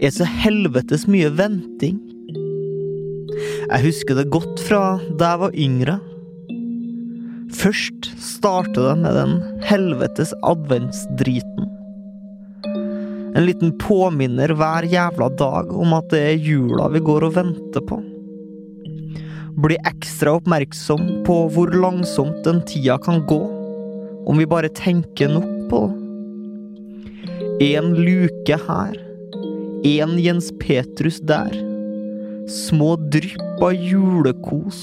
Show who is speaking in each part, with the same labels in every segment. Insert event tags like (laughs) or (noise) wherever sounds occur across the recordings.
Speaker 1: er så helvetes mye venting. Jeg husker det godt fra da jeg var yngre. Først startet det med den helvetes adventsdriten. En liten påminner hver jævla dag om at det er jula vi går og venter på. Bli ekstra oppmerksom på hvor langsomt den tida kan gå, om vi bare tenker nok på det. En luke her, en Jens Petrus der. Små drypp av julekos,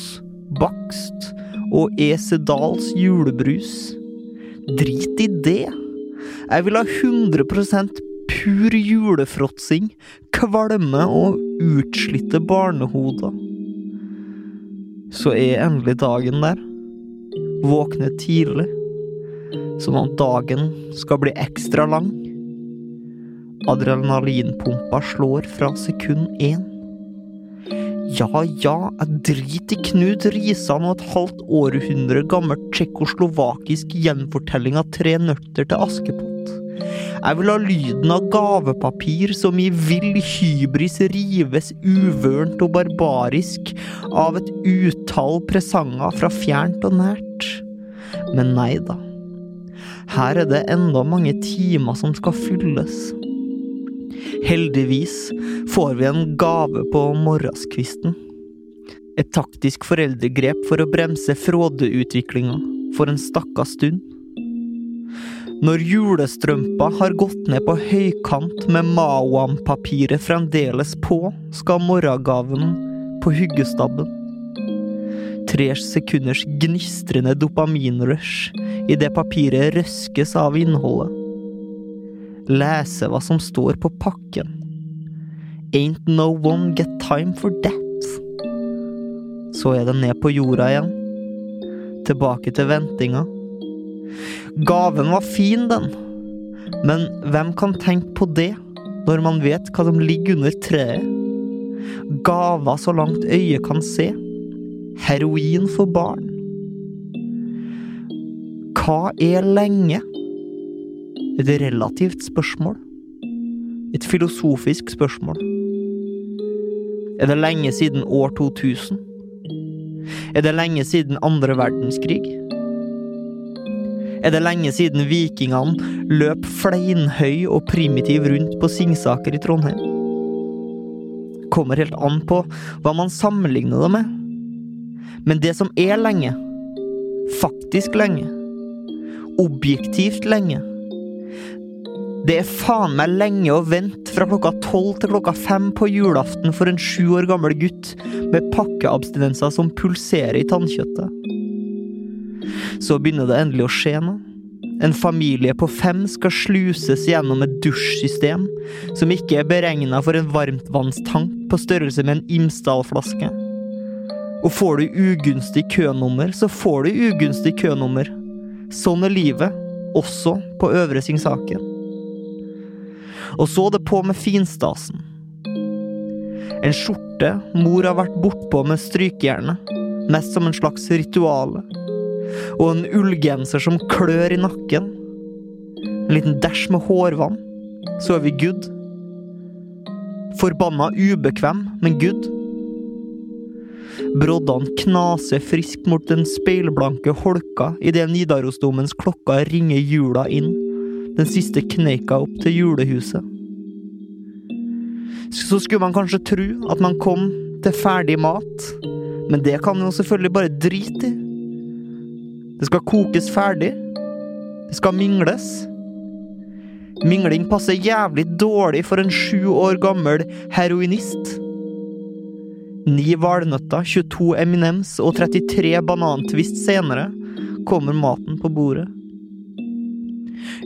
Speaker 1: bakst og Esedals julebrus. Drit i det. Jeg vil ha 100 pur julefråtsing, kvalme og utslitte barnehoder. Så er endelig dagen der. Våkne tidlig, sånn at dagen skal bli ekstra lang. Adrenalinpumpa slår fra sekund én. Ja, ja, jeg driter i Knut Risan og et halvt århundre gammel tsjekkoslovakisk gjenfortelling av Tre nøtter til Askepott. Jeg vil ha lyden av gavepapir som i vill hybris rives uvørent og barbarisk av et utall presanger fra fjernt og nært. Men nei da. Her er det enda mange timer som skal fylles. Heldigvis får vi en gave på morgenskvisten. Et taktisk foreldregrep for å bremse frådeutviklinga for en stakkars stund. Når julestrømpa har gått ned på høykant med Mauam-papiret fremdeles på, skal morgengaven på huggestabben. Tre sekunders gnistrende dopaminrush idet papiret røskes av innholdet lese hva som står på pakken. Ain't no one get time for that. Så er det ned på jorda igjen. Tilbake til ventinga. Gaven var fin, den. Men hvem kan tenke på det når man vet hva som ligger under treet? Gaver så langt øyet kan se. Heroin for barn. Hva er lenge? Et relativt spørsmål. Et filosofisk spørsmål. Er det lenge siden år 2000? Er det lenge siden andre verdenskrig? Er det lenge siden vikingene løp fleinhøy og primitiv rundt på Singsaker i Trondheim? Kommer helt an på hva man sammenligner det med. Men det som er lenge, faktisk lenge, objektivt lenge, det er faen meg lenge å vente fra klokka tolv til klokka fem på julaften for en sju år gammel gutt med pakkeabstinenser som pulserer i tannkjøttet. Så begynner det endelig å skje noe. En familie på fem skal sluses gjennom et dusjsystem som ikke er beregna for en varmtvannstank på størrelse med en Imsdal-flaske. Og får du ugunstig kønummer, så får du ugunstig kønummer. Sånn er livet, også på Øvre Singsaken og så det på med finstasen. En skjorte mor har vært bortpå med strykejernet, mest som en slags rituale. Og en ullgenser som klør i nakken. En liten dæsj med hårvann. Så er vi good. Forbanna ubekvem, men good. Broddene knaser friskt mot den speilblanke holka idet Nidarosdomens klokka ringer jula inn den siste kneika opp til julehuset. Så skulle man kanskje tro at man kom til ferdig mat, men det kan man jo selvfølgelig bare drite i. Det skal kokes ferdig. Det skal mingles. Mingling passer jævlig dårlig for en sju år gammel heroinist. Ni valnøtter, 22 Eminems og 33 banantvist senere kommer maten på bordet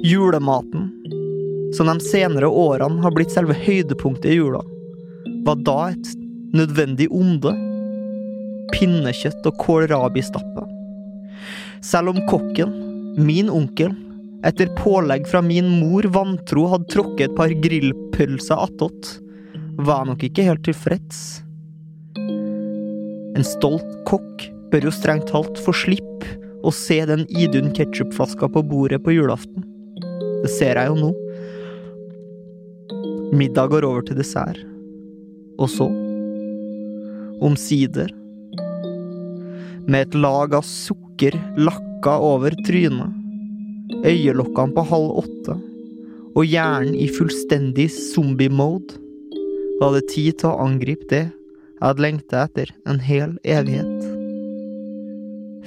Speaker 1: julematen, som de senere årene har blitt selve høydepunktet i jula, var da et nødvendig onde, pinnekjøtt og kålrabistappe. Selv om kokken, min onkel, etter pålegg fra min mor vantro hadde tråkket et par grillpølser attåt, var jeg nok ikke helt tilfreds. En stolt kokk bør jo strengt talt få slippe å se den Idun ketsjupflaska på bordet på julaften. Det ser jeg jo nå. Middag går over til dessert. Og så Omsider. Med et lag av sukker lakka over trynet. Øyelokkene på halv åtte. Og hjernen i fullstendig zombie-mode. Var det tid til å angripe det jeg hadde lengta etter en hel evighet?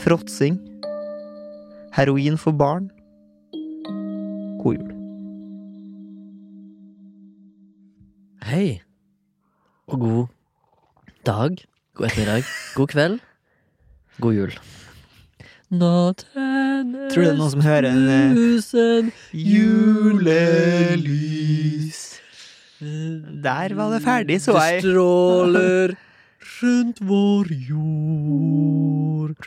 Speaker 1: Fråtsing. Heroin for barn. God jul.
Speaker 2: Hei. Og god dag. God ettermiddag. God kveld. God jul. Nå tennes
Speaker 1: Tror du det er noen som hører en, eh,
Speaker 2: tusen
Speaker 1: Julelys. Der var det ferdig, så
Speaker 2: Det
Speaker 1: jeg.
Speaker 2: stråler rundt vår jord.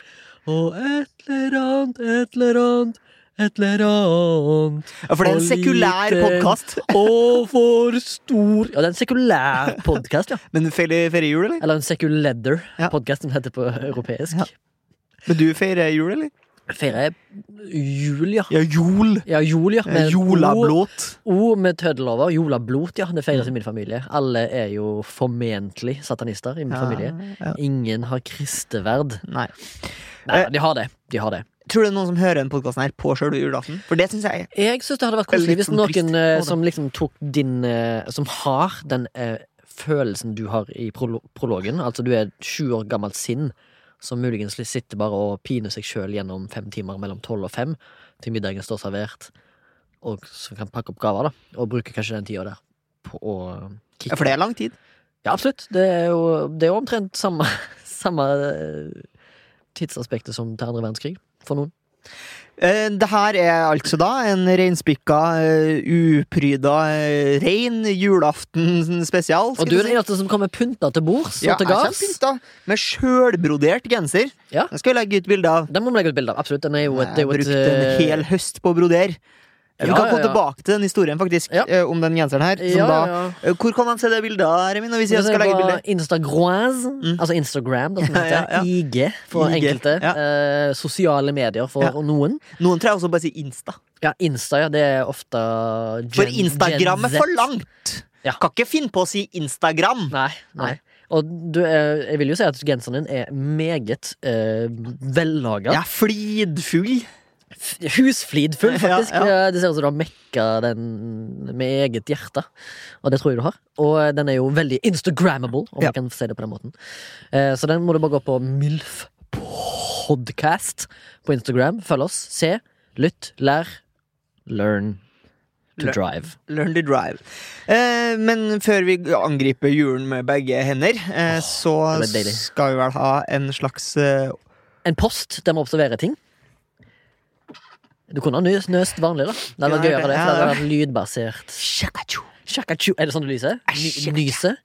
Speaker 2: Og et eller annet, et eller annet, et eller annet.
Speaker 1: Ja, for det er
Speaker 2: Og
Speaker 1: en sekulær
Speaker 2: liten.
Speaker 1: podkast.
Speaker 2: Og for stor Ja, det er en sekulær podkast, ja.
Speaker 1: Men du feirer feirer jul, eller?
Speaker 2: Eller en sekuledder.
Speaker 1: Ja.
Speaker 2: Podkasten heter på europeisk.
Speaker 1: Ja. Men du feirer jul, eller?
Speaker 2: Feirer jeg jul, ja.
Speaker 1: Ja, jul.
Speaker 2: Ja, jul, ja.
Speaker 1: Ja,
Speaker 2: Med O,
Speaker 1: Jolablåt.
Speaker 2: o med tøddel over. Jolablot, ja. Det feires i min familie. Alle er jo formentlig satanister i min familie.
Speaker 1: Ja, ja.
Speaker 2: Ingen har kristeverd.
Speaker 1: Nei.
Speaker 2: Nei,
Speaker 1: Eh.
Speaker 2: de har det. De har det.
Speaker 1: Tror du det er noen som hører den podkasten her på sjølve julaften? For det syns jeg.
Speaker 2: Jeg syns det hadde vært
Speaker 1: Det er
Speaker 2: koselig
Speaker 1: litt
Speaker 2: hvis
Speaker 1: sånn trist
Speaker 2: noen eh,
Speaker 1: på det.
Speaker 2: som liksom tok din eh, Som har den eh, følelsen du har i prolo prologen, altså du er et sju år gammelt sinn som muligens sitter bare og piner seg sjøl gjennom fem timer mellom tolv og fem, til middagen står servert, og som kan pakke opp gaver, da, og bruke kanskje den tida der på å
Speaker 1: Ja, for det er lang tid.
Speaker 2: Ja, absolutt. Det er jo, det er jo omtrent samme, (laughs) samme eh, tidsaspektet som til andre verdenskrig, for noen.
Speaker 1: Eh, Det her er altså da en reinspikka, eh, upryda, eh, rein julaften spesial.
Speaker 2: Og
Speaker 1: skal
Speaker 2: du
Speaker 1: jeg
Speaker 2: er
Speaker 1: si.
Speaker 2: den eneste som kommer pynta til bords
Speaker 1: Ja,
Speaker 2: og til
Speaker 1: jeg
Speaker 2: gards.
Speaker 1: kommer pynta med sjølbrodert genser.
Speaker 2: Ja.
Speaker 1: Den skal jeg legge ut bilde av.
Speaker 2: Den må vi legge ut bilde av. Absolutt. Den er jo et, det er
Speaker 1: Jeg
Speaker 2: jo et
Speaker 1: brukte en
Speaker 2: eh,
Speaker 1: hel høst på å brodere. Vi
Speaker 2: Ja,
Speaker 1: kan komme
Speaker 2: ja, ja.
Speaker 1: tilbake til den historien faktisk
Speaker 2: Ja.
Speaker 1: eh, om den genseren her. Som
Speaker 2: ja, ja,
Speaker 1: da,
Speaker 2: ja.
Speaker 1: Eh, Hvor kan man se det bildet, Remin? Når vi sier
Speaker 2: Det
Speaker 1: jeg skal
Speaker 2: er
Speaker 1: legge
Speaker 2: på
Speaker 1: bilde?
Speaker 2: Instagroise,
Speaker 1: Mm.
Speaker 2: altså Instagram, da, som
Speaker 1: (laughs) Ja,
Speaker 2: heter.
Speaker 1: ja, ja.
Speaker 2: IG for
Speaker 1: IG,
Speaker 2: enkelte.
Speaker 1: ja.
Speaker 2: Eh, sosiale medier for
Speaker 1: Ja.
Speaker 2: noen.
Speaker 1: Noen tror jeg også bare sier Insta.
Speaker 2: Ja, Insta, ja. Det er ofte Gen,
Speaker 1: For Instagram
Speaker 2: Gen
Speaker 1: er
Speaker 2: Z.
Speaker 1: for langt!
Speaker 2: Ja.
Speaker 1: Kan ikke finne på å si Instagram.
Speaker 2: Nei. nei. Og du, eh, jeg vil jo si at genseren din er meget eh, vellaga.
Speaker 1: Jeg er flidfull.
Speaker 2: F- Husflidfull, faktisk.
Speaker 1: (laughs) Ja,
Speaker 2: Eh, Det ser ut som du har mekka den med eget hjerte. Og det tror jeg du har. Og den er jo veldig Instagrammable, om
Speaker 1: Ja.
Speaker 2: jeg kan si det på den måten. Eh, Så den må du bare gå på MILF Podcast på Instagram. Følg oss. Se, lytt, lær. Learn to
Speaker 1: Learn.
Speaker 2: drive.
Speaker 1: Learn to drive. Eh, men før vi angriper julen med begge hender, eh, så
Speaker 2: det ble deilig.
Speaker 1: skal vi vel ha en slags eh,
Speaker 2: En post der vi observerer ting. Du kunne ha nø- nøst vanlig, da. Det hadde vært
Speaker 1: Ja, det-
Speaker 2: gøyere, det. For det hadde vært lydbasert.
Speaker 1: Shakachu.
Speaker 2: Shakachu. Er det sånn du lyser? Ny- Nyser?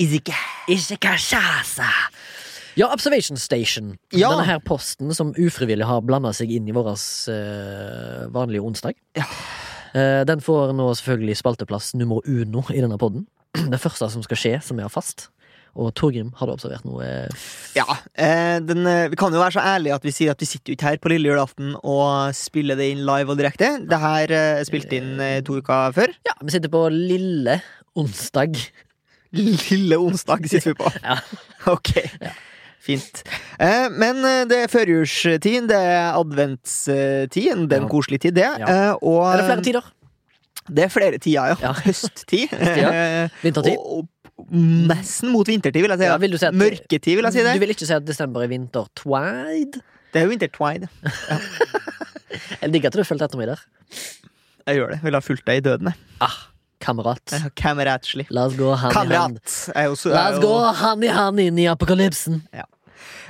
Speaker 1: Izike.
Speaker 2: Ishikashasa. Ja, Observation Station.
Speaker 1: Ja.
Speaker 2: Denne her posten som ufrivillig har blanda seg inn i vår eh, vanlige onsdag.
Speaker 1: Ja.
Speaker 2: Eh, den får nå selvfølgelig spalteplass nummer uno i denne podden. (clears throat) Det første som skal skje, som vi har fast. Og Torgrim, har du observert noe? eh,
Speaker 1: Ja. Eh, den, eh, vi kan jo være så ærlige at vi sier at vi sitter jo ikke her på lille julaften og spiller det inn live og direkte. Det her eh, spilte inn eh, to uker før.
Speaker 2: Ja, vi sitter på lille onsdag.
Speaker 1: Lille onsdag sitter vi på.
Speaker 2: Ja.
Speaker 1: (laughs) Ok. Fint. Eh, men eh, det er førjulstid, det er adventstid, det er en
Speaker 2: Ja.
Speaker 1: koselig tid, det.
Speaker 2: Ja.
Speaker 1: Eh, og,
Speaker 2: Er det flere tider?
Speaker 1: Det er flere tider, ja.
Speaker 2: Ja.
Speaker 1: (laughs)
Speaker 2: (laughs)
Speaker 1: Høsttid.
Speaker 2: ja. Vintertid?
Speaker 1: Og, og nesten mot vintertid, vil jeg si.
Speaker 2: Ja, vil du si at-
Speaker 1: Mørketid, vil jeg si det.
Speaker 2: Du vil ikke si at desember er vinter twide?
Speaker 1: Det er jo vintertwide.
Speaker 2: Jeg digger at du fulgte etter meg der.
Speaker 1: Jeg gjør det. Vil ha fulgt deg i døden, jeg.
Speaker 2: Ah, kamerat.
Speaker 1: jeg. har Kameratslig.
Speaker 2: La oss gå hand i hand.
Speaker 1: Kamerat! Jeg er jo så-
Speaker 2: La oss
Speaker 1: jeg er
Speaker 2: gå
Speaker 1: jo-
Speaker 2: hand i hand inn i apokalypsen.
Speaker 1: Ja.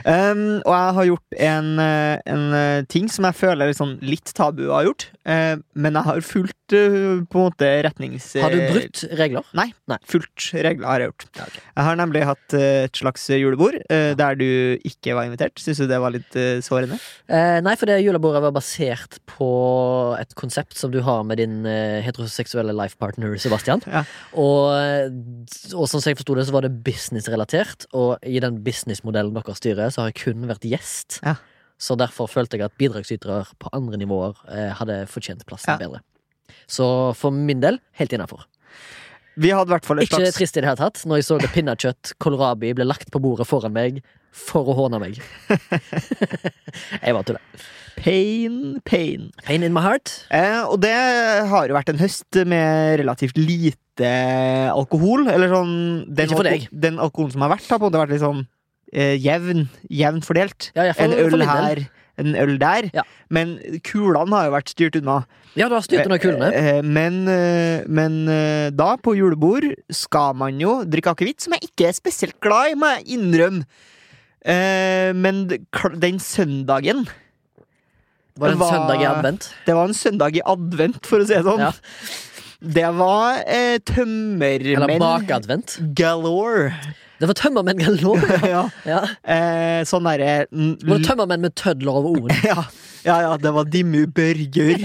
Speaker 1: Um, og jeg har gjort en, eh, en eh, ting som jeg føler er sånn litt tabu å ha gjort. eh, men jeg har fulgt eh, på en måte retnings...
Speaker 2: Har du brutt regler?
Speaker 1: Fulgt regler har jeg gjort.
Speaker 2: Ja, ok.
Speaker 1: Jeg har nemlig hatt eh, et slags julebord eh, der du ikke var invitert. Syns du det var litt eh, sårende?
Speaker 2: Eh, nei, for det julebordet var basert på et konsept som du har med din eh, heteroseksuelle life partner, Sebastian.
Speaker 1: Ja.
Speaker 2: Og, eh, og sånn som jeg forsto det, så var det businessrelatert, og i den businessmodellen dere styrer, så har jeg kun vært gjest.
Speaker 1: Ja.
Speaker 2: Så derfor følte jeg at bidragsytere på andre nivåer eh, hadde fortjent plassen
Speaker 1: Ja.
Speaker 2: bedre. Så for min del, helt innafor.
Speaker 1: Vi hadde i hvert fall et
Speaker 2: Ikke
Speaker 1: slags
Speaker 2: trist i det hele tatt når jeg så at pinnekjøtt kålrabi ble lagt på bordet foran meg for å håne
Speaker 1: (laughs)
Speaker 2: meg. jeg bare tuller.
Speaker 1: pain, pain.
Speaker 2: Pain in my heart.
Speaker 1: Eh, og det har jo vært en høst med relativt lite alkohol. Eller sånn Den,
Speaker 2: Ikke for
Speaker 1: alko- den alkoholen som har vært, har på en måte vært litt sånn eh, jevn. Jevnt fordelt.
Speaker 2: Ja, jeg får,
Speaker 1: En
Speaker 2: for min
Speaker 1: øl
Speaker 2: del.
Speaker 1: her, en øl der.
Speaker 2: Ja.
Speaker 1: Men kulene har jo vært styrt unna.
Speaker 2: Ja, du har styrt under kulene.
Speaker 1: Eh, eh, Men, eh, men eh, da, på julebord, skal man jo drikke akevitt, som jeg ikke er spesielt glad i, må jeg innrømme. Eh, Men kl- den søndagen
Speaker 2: Var det en
Speaker 1: hva-
Speaker 2: søndag i advent?
Speaker 1: det var en søndag i advent, for å si det sånn.
Speaker 2: Ja.
Speaker 1: Det var
Speaker 2: Eller
Speaker 1: eh, tømmermenn
Speaker 2: bakadvent?
Speaker 1: galore.
Speaker 2: Det var tømmermenn
Speaker 1: (laughs)
Speaker 2: galore!
Speaker 1: ja.
Speaker 2: (laughs) Ja.
Speaker 1: eh, sånn derre mm,
Speaker 2: Det var
Speaker 1: l-
Speaker 2: tømmermenn med tødler over ordene.
Speaker 1: (laughs) ja, ja, ja, det var Dimmu Børger.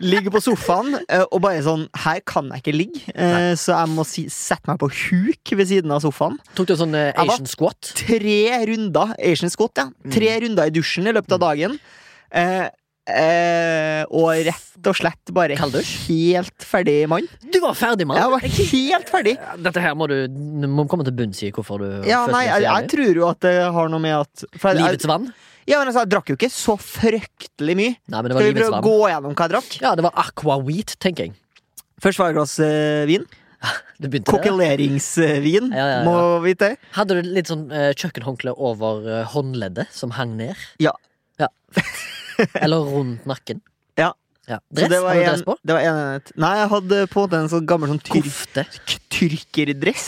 Speaker 1: Ligger på sofaen eh, og bare sånn Her kan jeg ikke ligge, eh, så jeg må si, sette meg på huk ved siden av sofaen.
Speaker 2: Tok du sånn eh,
Speaker 1: Jeg var-
Speaker 2: Asian squat?
Speaker 1: Tre runder Asian squat, ja.
Speaker 2: Mm.
Speaker 1: Tre runder i dusjen i løpet av dagen. Eh, eh, og rett og slett bare
Speaker 2: Kalddusj?
Speaker 1: helt ferdig mann.
Speaker 2: Du var ferdig, mann!
Speaker 1: Jeg var helt ferdig.
Speaker 2: Dette her må du du må komme til bunns i hvorfor du
Speaker 1: Ja,
Speaker 2: følte
Speaker 1: nei,
Speaker 2: deg så
Speaker 1: jeg, jeg
Speaker 2: jævlig.
Speaker 1: tror jo at det har noe med at for jeg, jeg,
Speaker 2: Livets vann?
Speaker 1: ja, men altså, jeg drakk jo ikke så fryktelig mye.
Speaker 2: Nei, men det var
Speaker 1: Skal vi
Speaker 2: livets
Speaker 1: prøve å
Speaker 2: vann.
Speaker 1: gå gjennom hva jeg drakk?
Speaker 2: Ja, det var aqua wheat, tenker jeg.
Speaker 1: Først var det et glass eh, vin.
Speaker 2: Det begynte der.
Speaker 1: Kokkeleringsvin,
Speaker 2: Ja, ja, ja.
Speaker 1: må vite.
Speaker 2: Hadde du litt sånn eh, kjøkkenhåndkle over eh, håndleddet som hang ned?
Speaker 1: Ja.
Speaker 2: Ja. (laughs) Eller rundt nakken?
Speaker 1: Ja. Så
Speaker 2: Dress?
Speaker 1: det var
Speaker 2: Har du
Speaker 1: en-
Speaker 2: dress på?
Speaker 1: Det var en enhet. Nei, jeg hadde på en måte en sånn gammel sånn tyrk,
Speaker 2: Kofte? (laughs)
Speaker 1: tyrkerdress.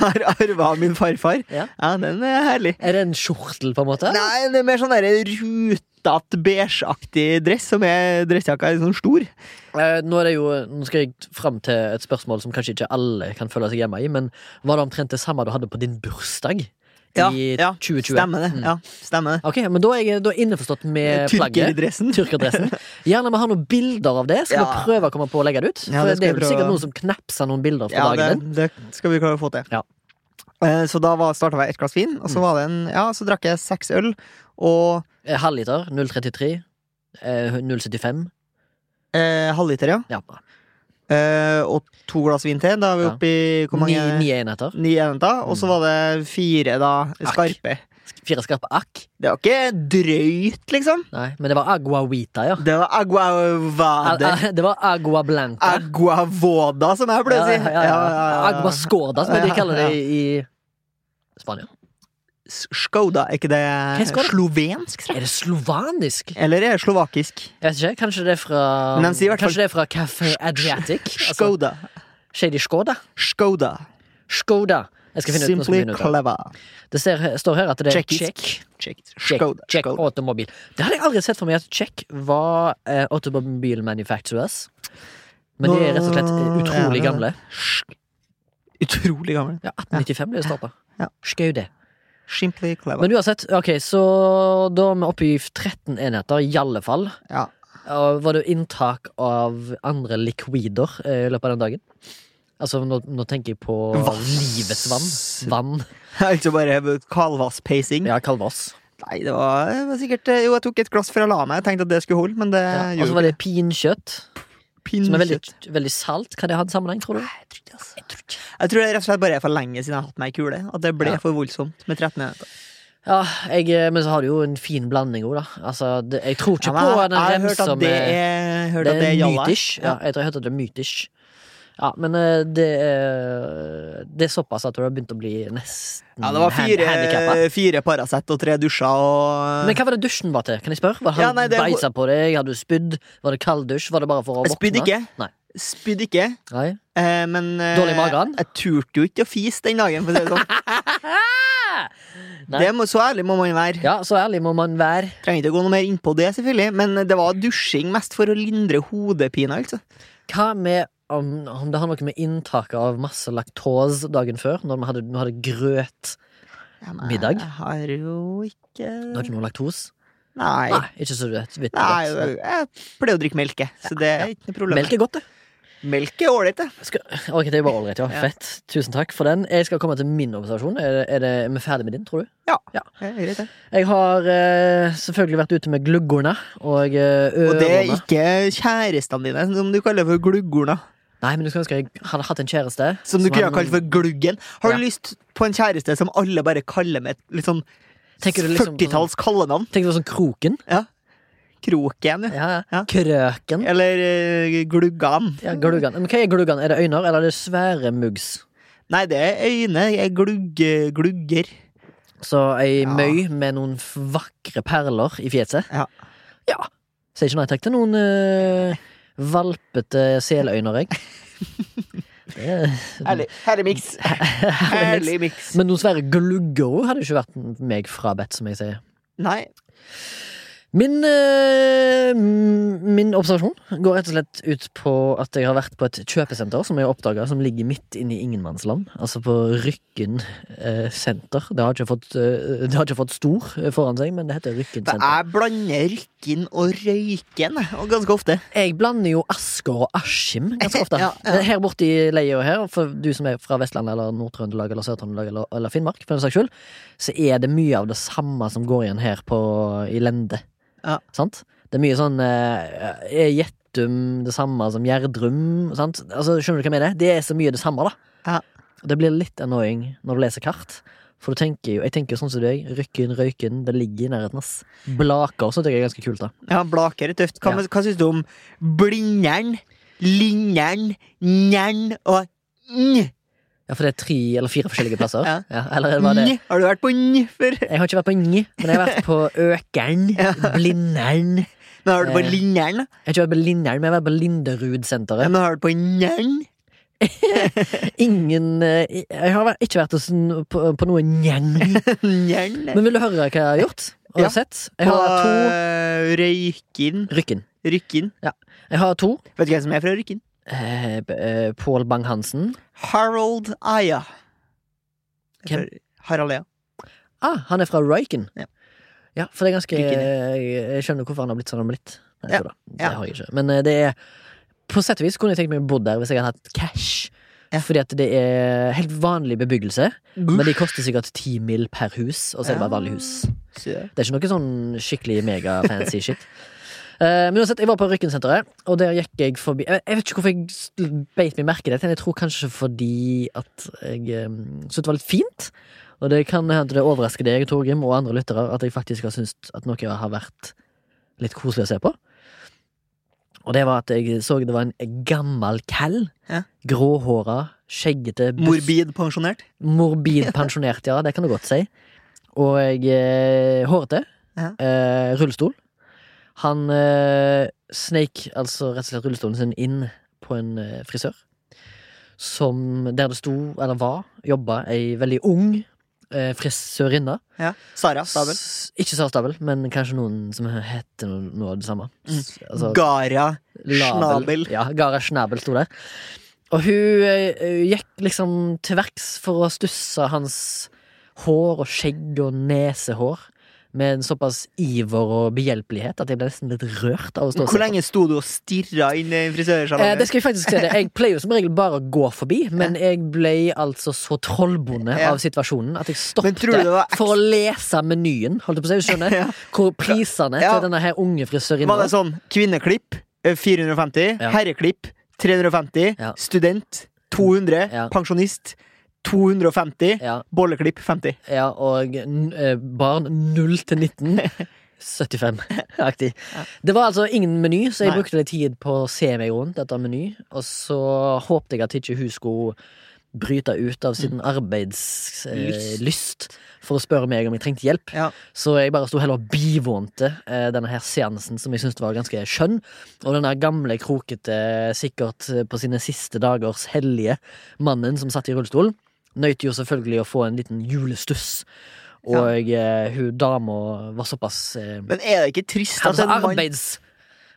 Speaker 1: Har arva av min farfar.
Speaker 2: Ja.
Speaker 1: ja, den er herlig.
Speaker 2: Er det en skjortel, på en måte?
Speaker 1: Nei, det er mer sånn derre rutete, beigeaktig dress, som er dressjakka er sånn stor.
Speaker 2: Eh, nå, er det jo, nå skal jeg fram til et spørsmål som kanskje ikke alle kan føle seg hjemme i, men var det omtrent det samme du hadde på din bursdag
Speaker 1: Ja,
Speaker 2: i
Speaker 1: ja,
Speaker 2: 2020?
Speaker 1: Stemmer det.
Speaker 2: Mm.
Speaker 1: Ja, stemmer det.
Speaker 2: Ok, men da er jeg da er jeg innforstått med
Speaker 1: (laughs)
Speaker 2: plagget.
Speaker 1: Tyrkerdressen.
Speaker 2: Tyrkerdressen. Gjerne vi har noen bilder av det. Skal
Speaker 1: Ja.
Speaker 2: vi prøve å komme på å legge det ut?
Speaker 1: Ja,
Speaker 2: For
Speaker 1: det
Speaker 2: det,
Speaker 1: skal
Speaker 2: er
Speaker 1: vi
Speaker 2: vel sikkert
Speaker 1: prøve.
Speaker 2: noen som knapser noen bilder fra
Speaker 1: Ja,
Speaker 2: dagen din.
Speaker 1: det, det skal vi klare å få til.
Speaker 2: Ja.
Speaker 1: Eh, Så da starta jeg ett glass vin, og så,
Speaker 2: Mm.
Speaker 1: var det en, ja, så drakk jeg seks øl. Og
Speaker 2: Eh, Halvliter 0,33. eh, 0,75.
Speaker 1: eh, halvliter, ja.
Speaker 2: Ja.
Speaker 1: Eh, og to glass vin til. Da er vi
Speaker 2: Ja.
Speaker 1: oppe i hvor
Speaker 2: Ni,
Speaker 1: mange?
Speaker 2: ni enheter.
Speaker 1: Ni enheter. Og så
Speaker 2: Mm.
Speaker 1: var det fire da
Speaker 2: Akk.
Speaker 1: skarpe.
Speaker 2: Fire skarpe akk.
Speaker 1: Det var ikke drøyt, liksom.
Speaker 2: Nei, men det var agua wita, ja.
Speaker 1: Det var aguavade.
Speaker 2: Ah, ah, (laughs) Det var agua blanca.
Speaker 1: Aguavoda, som jeg pleier å si.
Speaker 2: Ja, ja, ja, ja. Agua scoda, som de
Speaker 1: Ja,
Speaker 2: kaller det
Speaker 1: ja.
Speaker 2: i i Spania.
Speaker 1: Skoda, er ikke det
Speaker 2: Hva er Skoda?
Speaker 1: slovensk? tror jeg?
Speaker 2: Er det slovanisk?
Speaker 1: Eller er det slovakisk?
Speaker 2: Jeg vet ikke, Kanskje det er fra
Speaker 1: Men de sier i hvert fall-
Speaker 2: Kanskje det er fra Café Adriatic? Altså,
Speaker 1: Skoda.
Speaker 2: Shady Skoda?
Speaker 1: Skoda.
Speaker 2: Skoda. Jeg skal finne ut noe som
Speaker 1: Simply
Speaker 2: begynner ut av
Speaker 1: clever.
Speaker 2: det. Det ser, står her at det er
Speaker 1: Tsjekkisk.
Speaker 2: Tsjekk.
Speaker 1: Tsjekkisk.
Speaker 2: Check,
Speaker 1: Skoda.
Speaker 2: check
Speaker 1: Skoda.
Speaker 2: automobil. Det hadde jeg aldri sett for meg at Check var eh, Automobil Manufacturers. Men de er rett og slett eh, utrolig
Speaker 1: Ja, ja.
Speaker 2: gamle.
Speaker 1: Sk- Utrolig gammel.
Speaker 2: Ja, 1895 ble det starta.
Speaker 1: Ja.
Speaker 2: Skaude.
Speaker 1: Simply clever.
Speaker 2: Men uansett, ok, så da er vi oppe i 13 enheter, i alle fall.
Speaker 1: Ja. (laughs)
Speaker 2: Og var det inntak av andre likvider eh, i løpet av den dagen? Altså, nå, nå tenker jeg på
Speaker 1: Vass.
Speaker 2: livets vann. Vann.
Speaker 1: altså bare kalvasspeising.
Speaker 2: Ja, Kalvås.
Speaker 1: Nei, det var, det var sikkert eh, Jo, jeg tok et glass før jeg la meg. Jeg tenkte at det skulle holde, men det
Speaker 2: Ja. Og så
Speaker 1: gjorde
Speaker 2: var det pinkjøtt, som er veldig,
Speaker 1: pinnekjøtt.
Speaker 2: veldig salt. Kan det ha en sammenheng, tror du?
Speaker 1: Nei, Jeg tror ikke det, altså. Jeg tror det rett og slett bare er for lenge siden jeg har hatt meg i kule. At det ble
Speaker 2: Ja.
Speaker 1: for voldsomt med 13 enheter.
Speaker 2: Ja, jeg, eh, men så har du jo en fin blanding òg, da. Altså, det, jeg tror ikke
Speaker 1: Ja, men jeg-
Speaker 2: på den
Speaker 1: jeg har hørt
Speaker 2: remsa
Speaker 1: at det
Speaker 2: med
Speaker 1: er, hørt
Speaker 2: Det
Speaker 1: at det
Speaker 2: er
Speaker 1: er jalla.
Speaker 2: mytisk. Ja, jeg tror jeg hørte at det er mytisk. Ja, men eh, det er, det er såpass at du har begynt å bli nesten
Speaker 1: Ja, det var
Speaker 2: hand- handicappa.
Speaker 1: fire, eh, fire Paracet og tre dusjer og
Speaker 2: Men hva var det dusjen var til? Kan jeg spørre? Var han
Speaker 1: Ja, nei, det-
Speaker 2: beisa på deg? Hadde du spydd? Var det kalddusj? Var det bare for å
Speaker 1: Jeg
Speaker 2: våkne?
Speaker 1: spydde ikke.
Speaker 2: Nei.
Speaker 1: Spydde ikke.
Speaker 2: Nei.
Speaker 1: Eh, men eh,
Speaker 2: Dårlig i magen?
Speaker 1: Jeg turte jo ikke å fise den dagen, for å si det sånn.
Speaker 2: (laughs) Nei.
Speaker 1: Det må, så ærlig må man være.
Speaker 2: Ja, så ærlig må man være.
Speaker 1: Trenger ikke å gå noe mer inn på det, selvfølgelig, men det var dusjing mest for å lindre hodepine. altså.
Speaker 2: Hva med om, om det har noe med inntaket av masse laktose dagen før, når vi hadde, vi hadde grøt?
Speaker 1: Ja, men
Speaker 2: Middag?
Speaker 1: Jeg har jo ikke
Speaker 2: Det var ikke noe laktose?
Speaker 1: Nei.
Speaker 2: Nei, ikke så vidt. vidt
Speaker 1: Nei,
Speaker 2: godt.
Speaker 1: jeg pleier å drikke melk, jeg, så det er ikke noe problem.
Speaker 2: Melk er godt, det.
Speaker 1: Melk er ålreit, det.
Speaker 2: Skal, ok, det er bare ålreit, ja.
Speaker 1: Ja.
Speaker 2: Fett. Tusen takk for den. Jeg skal komme til min observasjon. Er, det- er, det, er vi ferdig med din, tror du?
Speaker 1: Det er greit, det.
Speaker 2: Jeg har eh, selvfølgelig vært ute med gluggorna og eh,
Speaker 1: Og det er
Speaker 2: ørene.
Speaker 1: ikke kjærestene dine, som du kaller for gluggorna.
Speaker 2: Nei, men du skulle ønske jeg hadde hatt en kjæreste.
Speaker 1: Som du kunne
Speaker 2: hadde
Speaker 1: ha kalt for gluggen. Har
Speaker 2: Ja.
Speaker 1: du lyst på en kjæreste som alle bare kaller med et litt sånn
Speaker 2: Tenker du liksom på sånn-
Speaker 1: 40-talls kallenavn?
Speaker 2: Tenk deg sånn Kroken.
Speaker 1: Kroken, ja.
Speaker 2: Ja, ja.
Speaker 1: Ja.
Speaker 2: Krøken.
Speaker 1: Eller eh, gluggan.
Speaker 2: Ja, gluggan. Men hva er gluggan? Er det øyner, eller er det svære muggs?
Speaker 1: Nei, det er øyne. Jeg glugg, glugger.
Speaker 2: Så ei
Speaker 1: Ja.
Speaker 2: møy med noen f- vakre perler i fjeset.
Speaker 1: Ja.
Speaker 2: ja. Sier ikke nei takk til noen eh, valpete seløyner, jeg. Det er-
Speaker 1: Herlig. Herlig miks.
Speaker 2: Sånn. (laughs) Herlig miks.
Speaker 1: Herlig miks.
Speaker 2: Men noen svære glugger også hadde jo ikke vært meg frabedt, som jeg sier.
Speaker 1: Nei.
Speaker 2: Min, eh, m- min observasjon går rett og slett ut på at jeg har vært på et kjøpesenter som jeg har oppdaga, som ligger midt inne i ingenmannsland. Altså på Rykken eh, senter. Det har, ikke fått, eh, det har ikke fått stor eh, foran seg, men det heter Rykken
Speaker 1: For
Speaker 2: senter.
Speaker 1: jeg blander rykken og røyken jeg, og ganske ofte.
Speaker 2: Jeg blander jo Asker og Askim ganske ofte.
Speaker 1: (laughs) Ja, ja.
Speaker 2: Her borte i leia her, for du som er fra Vestlandet eller Nord-Trøndelag eller Sør-Trøndelag eller, eller Finnmark, for den saks skyld, så er det mye av det samme som går igjen her på, i Lende.
Speaker 1: Ja.
Speaker 2: Sant? Det er mye sånn eh, Er Gjettum det samme som Gjerdrum? Sant? Altså, skjønner du hva jeg mener? Det er så mye det samme, da.
Speaker 1: Ja.
Speaker 2: Og Det blir litt annoying når du leser kart. For du tenker jo, jeg tenker jo sånn som deg. Rykken, Røyken, det ligger i nærheten. ass. Blaker syns jeg er ganske kult, da.
Speaker 1: Ja, Blaker er tøft. Hva, hva syns du om blinderen, linjeren, njern og nj?
Speaker 2: Ja, for det er tre eller fire forskjellige (laughs) plasser?
Speaker 1: Ja.
Speaker 2: eller var det
Speaker 1: Nj? Har du vært på nj før?
Speaker 2: Jeg har ikke vært på Ngi, men jeg har vært på (laughs) Økeren, Blindern Jeg
Speaker 1: Men har du på
Speaker 2: Eh.
Speaker 1: linjeren? da?
Speaker 2: har ikke vært på Lindern, men jeg har vært på Linderudsenteret.
Speaker 1: Men har du på njern? (laughs)
Speaker 2: Ingen eh, Jeg har væ- ikke vært hos n- på, på noe njeng.
Speaker 1: Njern?
Speaker 2: (laughs) Men vil du høre hva jeg har gjort? Og
Speaker 1: Ja.
Speaker 2: sett? Jeg
Speaker 1: På
Speaker 2: har to
Speaker 1: eh, Røyken?
Speaker 2: Rykken.
Speaker 1: Rykken?
Speaker 2: Jeg har to.
Speaker 1: Vet du hvem som er fra Rykken?
Speaker 2: Eh, b- eh, Pål Bang-Hansen.
Speaker 1: Harold Aya.
Speaker 2: Hvem?
Speaker 1: Harald Aya.
Speaker 2: Ah, han er fra Ryken.
Speaker 1: Ja.
Speaker 2: Ja, for det er ganske
Speaker 1: Ryken,
Speaker 2: jeg, jeg skjønner hvorfor han har blitt sånn han har blitt. Nei,
Speaker 1: Ja,
Speaker 2: jeg tror da. Det
Speaker 1: ja.
Speaker 2: har jeg ikke. Men eh, det er På sett og vis kunne jeg tenkt meg å bo der hvis jeg hadde hatt cash.
Speaker 1: Ja.
Speaker 2: Fordi at det er helt vanlig bebyggelse, men de koster sikkert ti mil per hus. Og så er det bare
Speaker 1: Ja.
Speaker 2: vanlig hus.
Speaker 1: Søt.
Speaker 2: Det er ikke noe sånn skikkelig megafancy shit. (laughs) Eh, men uansett, jeg var på Rykkensenteret, og der gikk jeg forbi Jeg, jeg vet ikke hvorfor jeg s- beit meg merke i dette, men jeg tror kanskje fordi at jeg um, syntes det var litt fint. Og det kan hende det overrasker deg, Torgrim, og andre lyttere, at jeg faktisk har syntes at noe har vært litt koselig å se på. Og det var at jeg så det var en gammel kall.
Speaker 1: Ja.
Speaker 2: Gråhåra, skjeggete, bus-
Speaker 1: Morbid pensjonert? (laughs)
Speaker 2: Morbid pensjonert, ja, det kan du godt si. Og jeg eh, hårete.
Speaker 1: Ja.
Speaker 2: Eh, rullestol. Han eh, sneik altså rett og slett rullestolen sin inn på en eh, frisør. Som der det sto, eller var, jobba ei veldig ung eh, frisørinne.
Speaker 1: Ja. Sara Stabel.
Speaker 2: S- Ikke Sara Stabel, men kanskje noen som heter noe, noe av det samme.
Speaker 1: Mm.
Speaker 2: S- altså-
Speaker 1: Gara.
Speaker 2: Label.
Speaker 1: Schnabel.
Speaker 2: Ja, Gara Schnabel sto der. Og hun eh, gikk liksom til verks for å stusse hans hår og skjegg og nesehår med en såpass iver og behjelpelighet at jeg ble nesten litt rørt av å stå og se
Speaker 1: Hvor
Speaker 2: på.
Speaker 1: lenge sto du og stirra inn i
Speaker 2: Eh, det
Speaker 1: frisørsalongen?
Speaker 2: skal jeg faktisk si det. Jeg pleier jo som regel bare å gå forbi, men jeg ble altså så trollbonde
Speaker 1: Ja.
Speaker 2: av situasjonen at jeg
Speaker 1: Men
Speaker 2: stoppet
Speaker 1: tror du det var
Speaker 2: for å lese menyen, holdt jeg på å si, du skjønner?
Speaker 1: Ja.
Speaker 2: Hvor prisene
Speaker 1: Ja.
Speaker 2: til denne her unge frisørinna
Speaker 1: Var det sånn kvinneklipp eh, 450,
Speaker 2: Ja.
Speaker 1: herreklipp 350,
Speaker 2: Ja.
Speaker 1: student 200,
Speaker 2: Ja.
Speaker 1: pensjonist 250,
Speaker 2: ja,
Speaker 1: bolleklipp 50?
Speaker 2: Ja, og n- eh, barn 0 til 19 75-aktig. Det var altså ingen meny, så jeg
Speaker 1: Nei.
Speaker 2: brukte litt tid på å se meg rundt etter meny. Og så håpte jeg at ikke hun skulle bryte ut av sin arbeidslyst eh,
Speaker 1: Mm. Lyst.
Speaker 2: lyst for å spørre meg om jeg trengte hjelp.
Speaker 1: Ja.
Speaker 2: Så jeg bare sto heller og bivånte eh, denne her seansen, som jeg syntes var ganske skjønn. Og denne gamle, krokete, sikkert eh, på sine siste dagers hellige mannen som satt i rullestol. nøyt jo selvfølgelig å få en liten julestuss. Og eh, hun dama var såpass eh,
Speaker 1: Men er det ikke trist at
Speaker 2: hadde
Speaker 1: en
Speaker 2: så
Speaker 1: mann
Speaker 2: arbeids...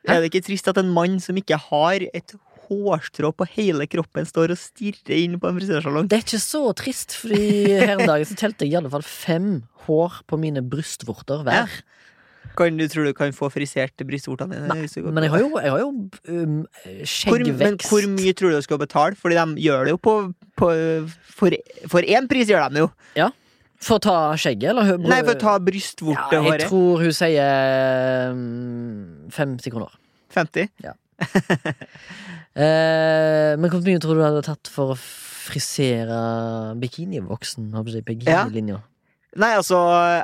Speaker 2: Hæ?
Speaker 1: Er det ikke trist at en mann som ikke har et hårstrå på hele kroppen, står og stirrer inn på en frisørsalong?
Speaker 2: Det er ikke så trist, fordi her en dag så telte jeg i alle fall fem hår på mine brystvorter hver.
Speaker 1: Ja. Kan du tro du kan få frisert brystvortene dine? hvis du går
Speaker 2: Men jeg
Speaker 1: på-
Speaker 2: har jo, jeg har jo um,
Speaker 1: hvor, men
Speaker 2: skjeggvekst.
Speaker 1: hvor mye tror du du skal betale? Fordi de gjør det jo på, på For for én pris gjør de det jo.
Speaker 2: For å ta skjegget, eller? hø-
Speaker 1: Nei, for å ta
Speaker 2: ja, Jeg
Speaker 1: brystvortehåret.
Speaker 2: tror hun sier um, 50 kroner.
Speaker 1: 50.
Speaker 2: Eh, men hvor mye tror du du hadde tatt for å frisere bikinivoksen? holdt jeg på å si,
Speaker 1: Ja.
Speaker 2: Bikinilinja.
Speaker 1: Nei, altså,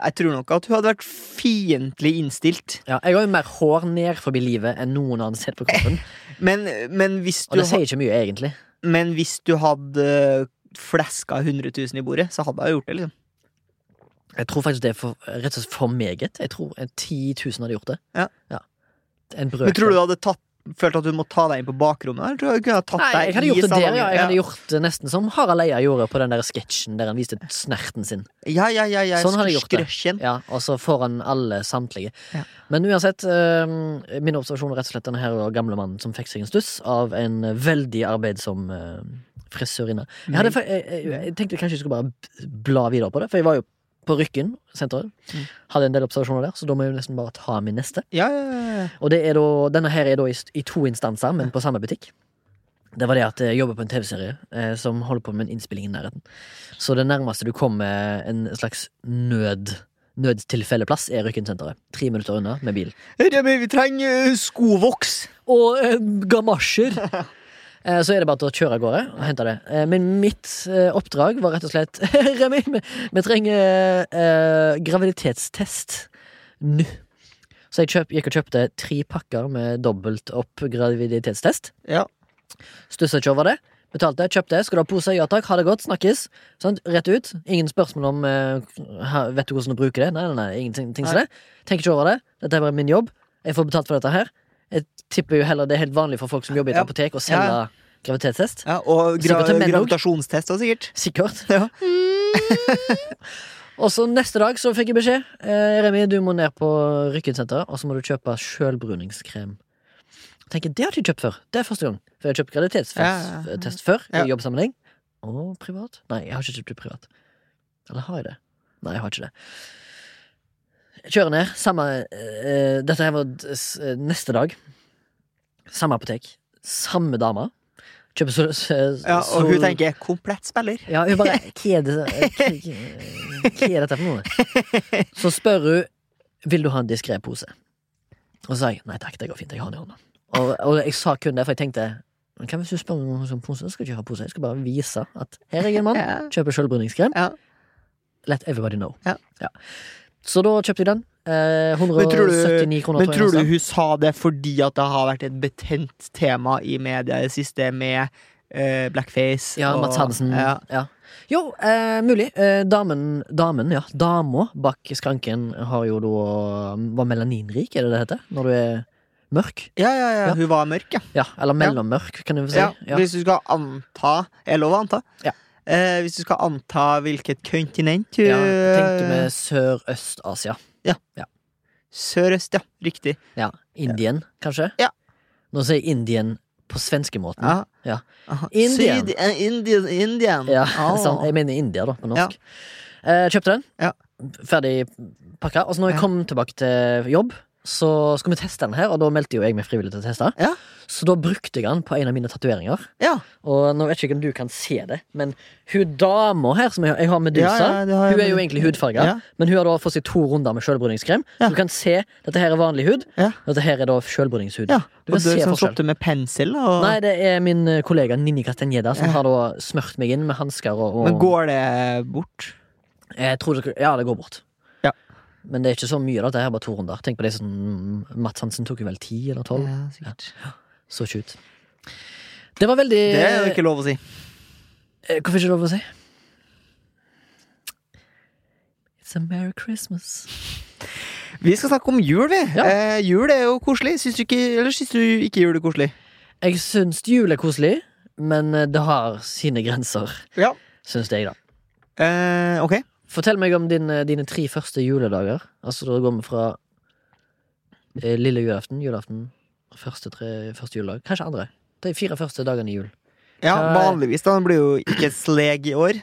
Speaker 1: jeg tror nok at hun hadde vært fiendtlig innstilt.
Speaker 2: Ja, jeg har jo mer hår ned forbi livet enn noen annen sted på
Speaker 1: (laughs)
Speaker 2: kroppen.
Speaker 1: Men, men, hvis,
Speaker 2: Og
Speaker 1: du
Speaker 2: det
Speaker 1: ha,
Speaker 2: sier ikke mye, egentlig.
Speaker 1: men hvis du hadde fleska 100 000 i bordet, så hadde hun gjort det, liksom.
Speaker 2: Jeg tror faktisk det er for, rett og slett for meget. Jeg tror en 10 000 hadde gjort det.
Speaker 1: Ja.
Speaker 2: En brøk.
Speaker 1: Men tror du du hadde tatt, følt at du må ta deg inn på bakrommet? Eller tror du du kunne ha tatt
Speaker 2: Nei,
Speaker 1: deg
Speaker 2: jeg hadde
Speaker 1: i
Speaker 2: gjort det der,
Speaker 1: salongen?
Speaker 2: ja. Jeg hadde gjort det nesten som Harald Eia gjorde på den der sketsjen der han viste snerten sin.
Speaker 1: Ja, ja, ja, ja.
Speaker 2: Sånn hadde jeg gjort det.
Speaker 1: Skrøsjen.
Speaker 2: Ja, Og så foran alle samtlige.
Speaker 1: Ja.
Speaker 2: Men uansett, eh, min observasjon er rett og slett denne her gamle mannen som fikk seg en stuss av en eh, veldig arbeidsom eh, frisørinne. Jeg, hadde, fa-
Speaker 1: Mm.
Speaker 2: jeg, jeg, jeg tenkte kanskje jeg skulle bare b- bla videre på det, for jeg var jo på Rykken senteret.
Speaker 1: Mm.
Speaker 2: Hadde en del observasjoner der, så da må jeg jo nesten bare ta min neste.
Speaker 1: Ja, ja, ja, ja.
Speaker 2: Og det er da, denne her er da i, st- i to instanser, men på samme butikk. Det var det at jeg jobber på en TV-serie eh, som holder på med en innspilling i nærheten. Så det nærmeste du kommer en slags nød nødstilfelleplass, er Rykkensenteret. Tre minutter unna med bil.
Speaker 1: Herre min, Vi trenger eh, skovoks!
Speaker 2: Og eh, gamasjer! Eh, Så er det bare til å kjøre av gårde og hente det. Eh, Men mitt eh, oppdrag var rett og slett (laughs) Remi, vi, vi trenger eh, graviditetstest nå. Så jeg kjøp, gikk og kjøpte tre pakker med dobbelt opp graviditetstest.
Speaker 1: Ja.
Speaker 2: Stussa ikke over det. Betalte, kjøpte. Skal du ha pose? Ja takk. Ha det godt. Snakkes. Sant? Rett ut. Ingen spørsmål om eh, ha- Vet du hvordan du bruker det? Nei, nei, nei. Ingenting ting som det. Tenker ikke over det. Dette er bare min jobb. Jeg får betalt for dette her. Jeg tipper jo heller det er helt vanlig for folk som jobber i et
Speaker 1: Ja.
Speaker 2: apotek, å
Speaker 1: Ja,
Speaker 2: selge
Speaker 1: ja.
Speaker 2: graviditetstest.
Speaker 1: ja og gra
Speaker 2: Sikkert til menn også.
Speaker 1: gravitasjonstest også, sikkert.
Speaker 2: Sikkert. Mm.
Speaker 1: Ja.
Speaker 2: (laughs) og så neste dag så fikk jeg beskjed. Eh, Remi, du må ned på Rykkensenteret, og så må du kjøpe sjølbruningskrem. Jeg tenker, Det har jeg ikke kjøpt før. Det er første gang. For jeg har kjøpt
Speaker 1: Ja, ja, ja.
Speaker 2: graviditetstest før
Speaker 1: Ja.
Speaker 2: i jobbsammenheng. Og privat. Nei, jeg har ikke kjøpt det privat. Eller har jeg det? Nei, jeg har ikke det. Jeg kjører ned. Samme eh, Dette her var d- s- eh, neste dag. Samme apotek. Samme dame. Kjøper så, så,
Speaker 1: Ja, og hun
Speaker 2: så-
Speaker 1: tenker (laughs) 'komplett spiller'.
Speaker 2: ja,
Speaker 1: (laughs)
Speaker 2: hun bare Hva er det hva- hva- hva er dette for noe? Så spør hun Vil du ha en diskré pose. Og så sa jeg nei takk, det går fint. Jeg har den i hånda. Og, og jeg sa kun det, for jeg tenkte men hva hvis du spør meg om en sånn pose? Jeg skal ikke ha pose. Jeg skal bare vise at her er jeg en mann.
Speaker 1: (laughs) Ja.
Speaker 2: Kjøper sjølbruningskrem.
Speaker 1: Ja.
Speaker 2: Let everybody know.
Speaker 1: Ja.
Speaker 2: Så da kjøpte jeg den. Eh,
Speaker 1: Men tror du-
Speaker 2: 179 kroner.
Speaker 1: Men tror du
Speaker 2: jeg den
Speaker 1: hun sa det fordi at det har vært et betent tema i media i det siste, med eh, blackface
Speaker 2: sa. Ja,
Speaker 1: og
Speaker 2: Mats Hansen.
Speaker 1: Ja.
Speaker 2: Ja. Jo, eh, mulig. Eh, damen, damen, ja. Dama bak skranken har jo da Var melaninrik, er det det heter? Når du er mørk?
Speaker 1: Ja, ja, ja,
Speaker 2: Ja.
Speaker 1: hun var mørk, ja.
Speaker 2: Ja, eller mellommørk, kan du si.
Speaker 1: ja.
Speaker 2: Ja.
Speaker 1: Hvis du skal anta Er lov å anta?
Speaker 2: Ja.
Speaker 1: Eh, hvis du skal anta hvilket kontinent hun
Speaker 2: Ja, tenkte med Sørøst-Asia.
Speaker 1: Sørøst, ja. Riktig.
Speaker 2: Ja, Indien, kanskje?
Speaker 1: Ja.
Speaker 2: Nå sier jeg Indien på svenskemåten.
Speaker 1: Ja.
Speaker 2: Mm, Ja.
Speaker 1: Aha.
Speaker 2: Indian.
Speaker 1: Syd, eh, Indian. Indian.
Speaker 2: Ja, (laughs) sånn.
Speaker 1: Ah.
Speaker 2: sant. Jeg mener India, da, på norsk. Eh, kjøpte den.
Speaker 1: Ja.
Speaker 2: Ferdig pakka. Og så når jeg
Speaker 1: Ja.
Speaker 2: kom tilbake til jobb, så skulle vi teste den her, og da meldte jo jeg meg frivillig til å teste.
Speaker 1: Ja.
Speaker 2: Så da brukte jeg den på en av mine tatoveringer.
Speaker 1: Ja.
Speaker 2: Og nå vet jeg ikke om du kan se det, men hun dama her, som jeg, jeg har medusa,
Speaker 1: Ja, ja, det har jeg
Speaker 2: hun er jo
Speaker 1: med-
Speaker 2: egentlig hudfarga,
Speaker 1: Ja.
Speaker 2: men hun har da fått seg to runder med sjølbruningskrem.
Speaker 1: Ja.
Speaker 2: Du kan se dette her er vanlig hud,
Speaker 1: Ja.
Speaker 2: dette her er da sjølbruningshud.
Speaker 1: ja.
Speaker 2: Du kan
Speaker 1: Og du
Speaker 2: se
Speaker 1: som
Speaker 2: forskjell.
Speaker 1: slått det med pensel? Og...
Speaker 2: Nei, det er min eh, kollega Ninni Castaneda som
Speaker 1: Ja.
Speaker 2: har da smurt meg inn med hansker og, og
Speaker 1: Men går det bort?
Speaker 2: Jeg tror det, ja, det går bort.
Speaker 1: Ja.
Speaker 2: Men det er ikke så mye, da. Det er bare to runder. Tenk på det som Mats Hansen tok jo vel ti eller tolv.
Speaker 1: Ja, sikkert.
Speaker 2: Så ikke ut. Det var veldig
Speaker 1: Det er jo ikke lov å si.
Speaker 2: Eh, Hvorfor ikke lov å si? It's a merry Christmas.
Speaker 1: Vi skal snakke om jul, vi.
Speaker 2: Ja.
Speaker 1: Eh, jul er jo koselig. Syns du ikke, eller syns du ikke jul er koselig?
Speaker 2: Jeg syns jul er koselig, men eh, det har sine grenser,
Speaker 1: Ja.
Speaker 2: syns jeg, da.
Speaker 1: Eh, ok.
Speaker 2: Fortell meg om din, eh, dine tre første juledager. Altså, da går vi fra eh, lille julaften, julaften, første, tre, første juledag. Kanskje andre. De fire første dagene i jul.
Speaker 1: Ja,
Speaker 2: Hva-
Speaker 1: vanligvis, da. Det blir jo ikke sleg i år.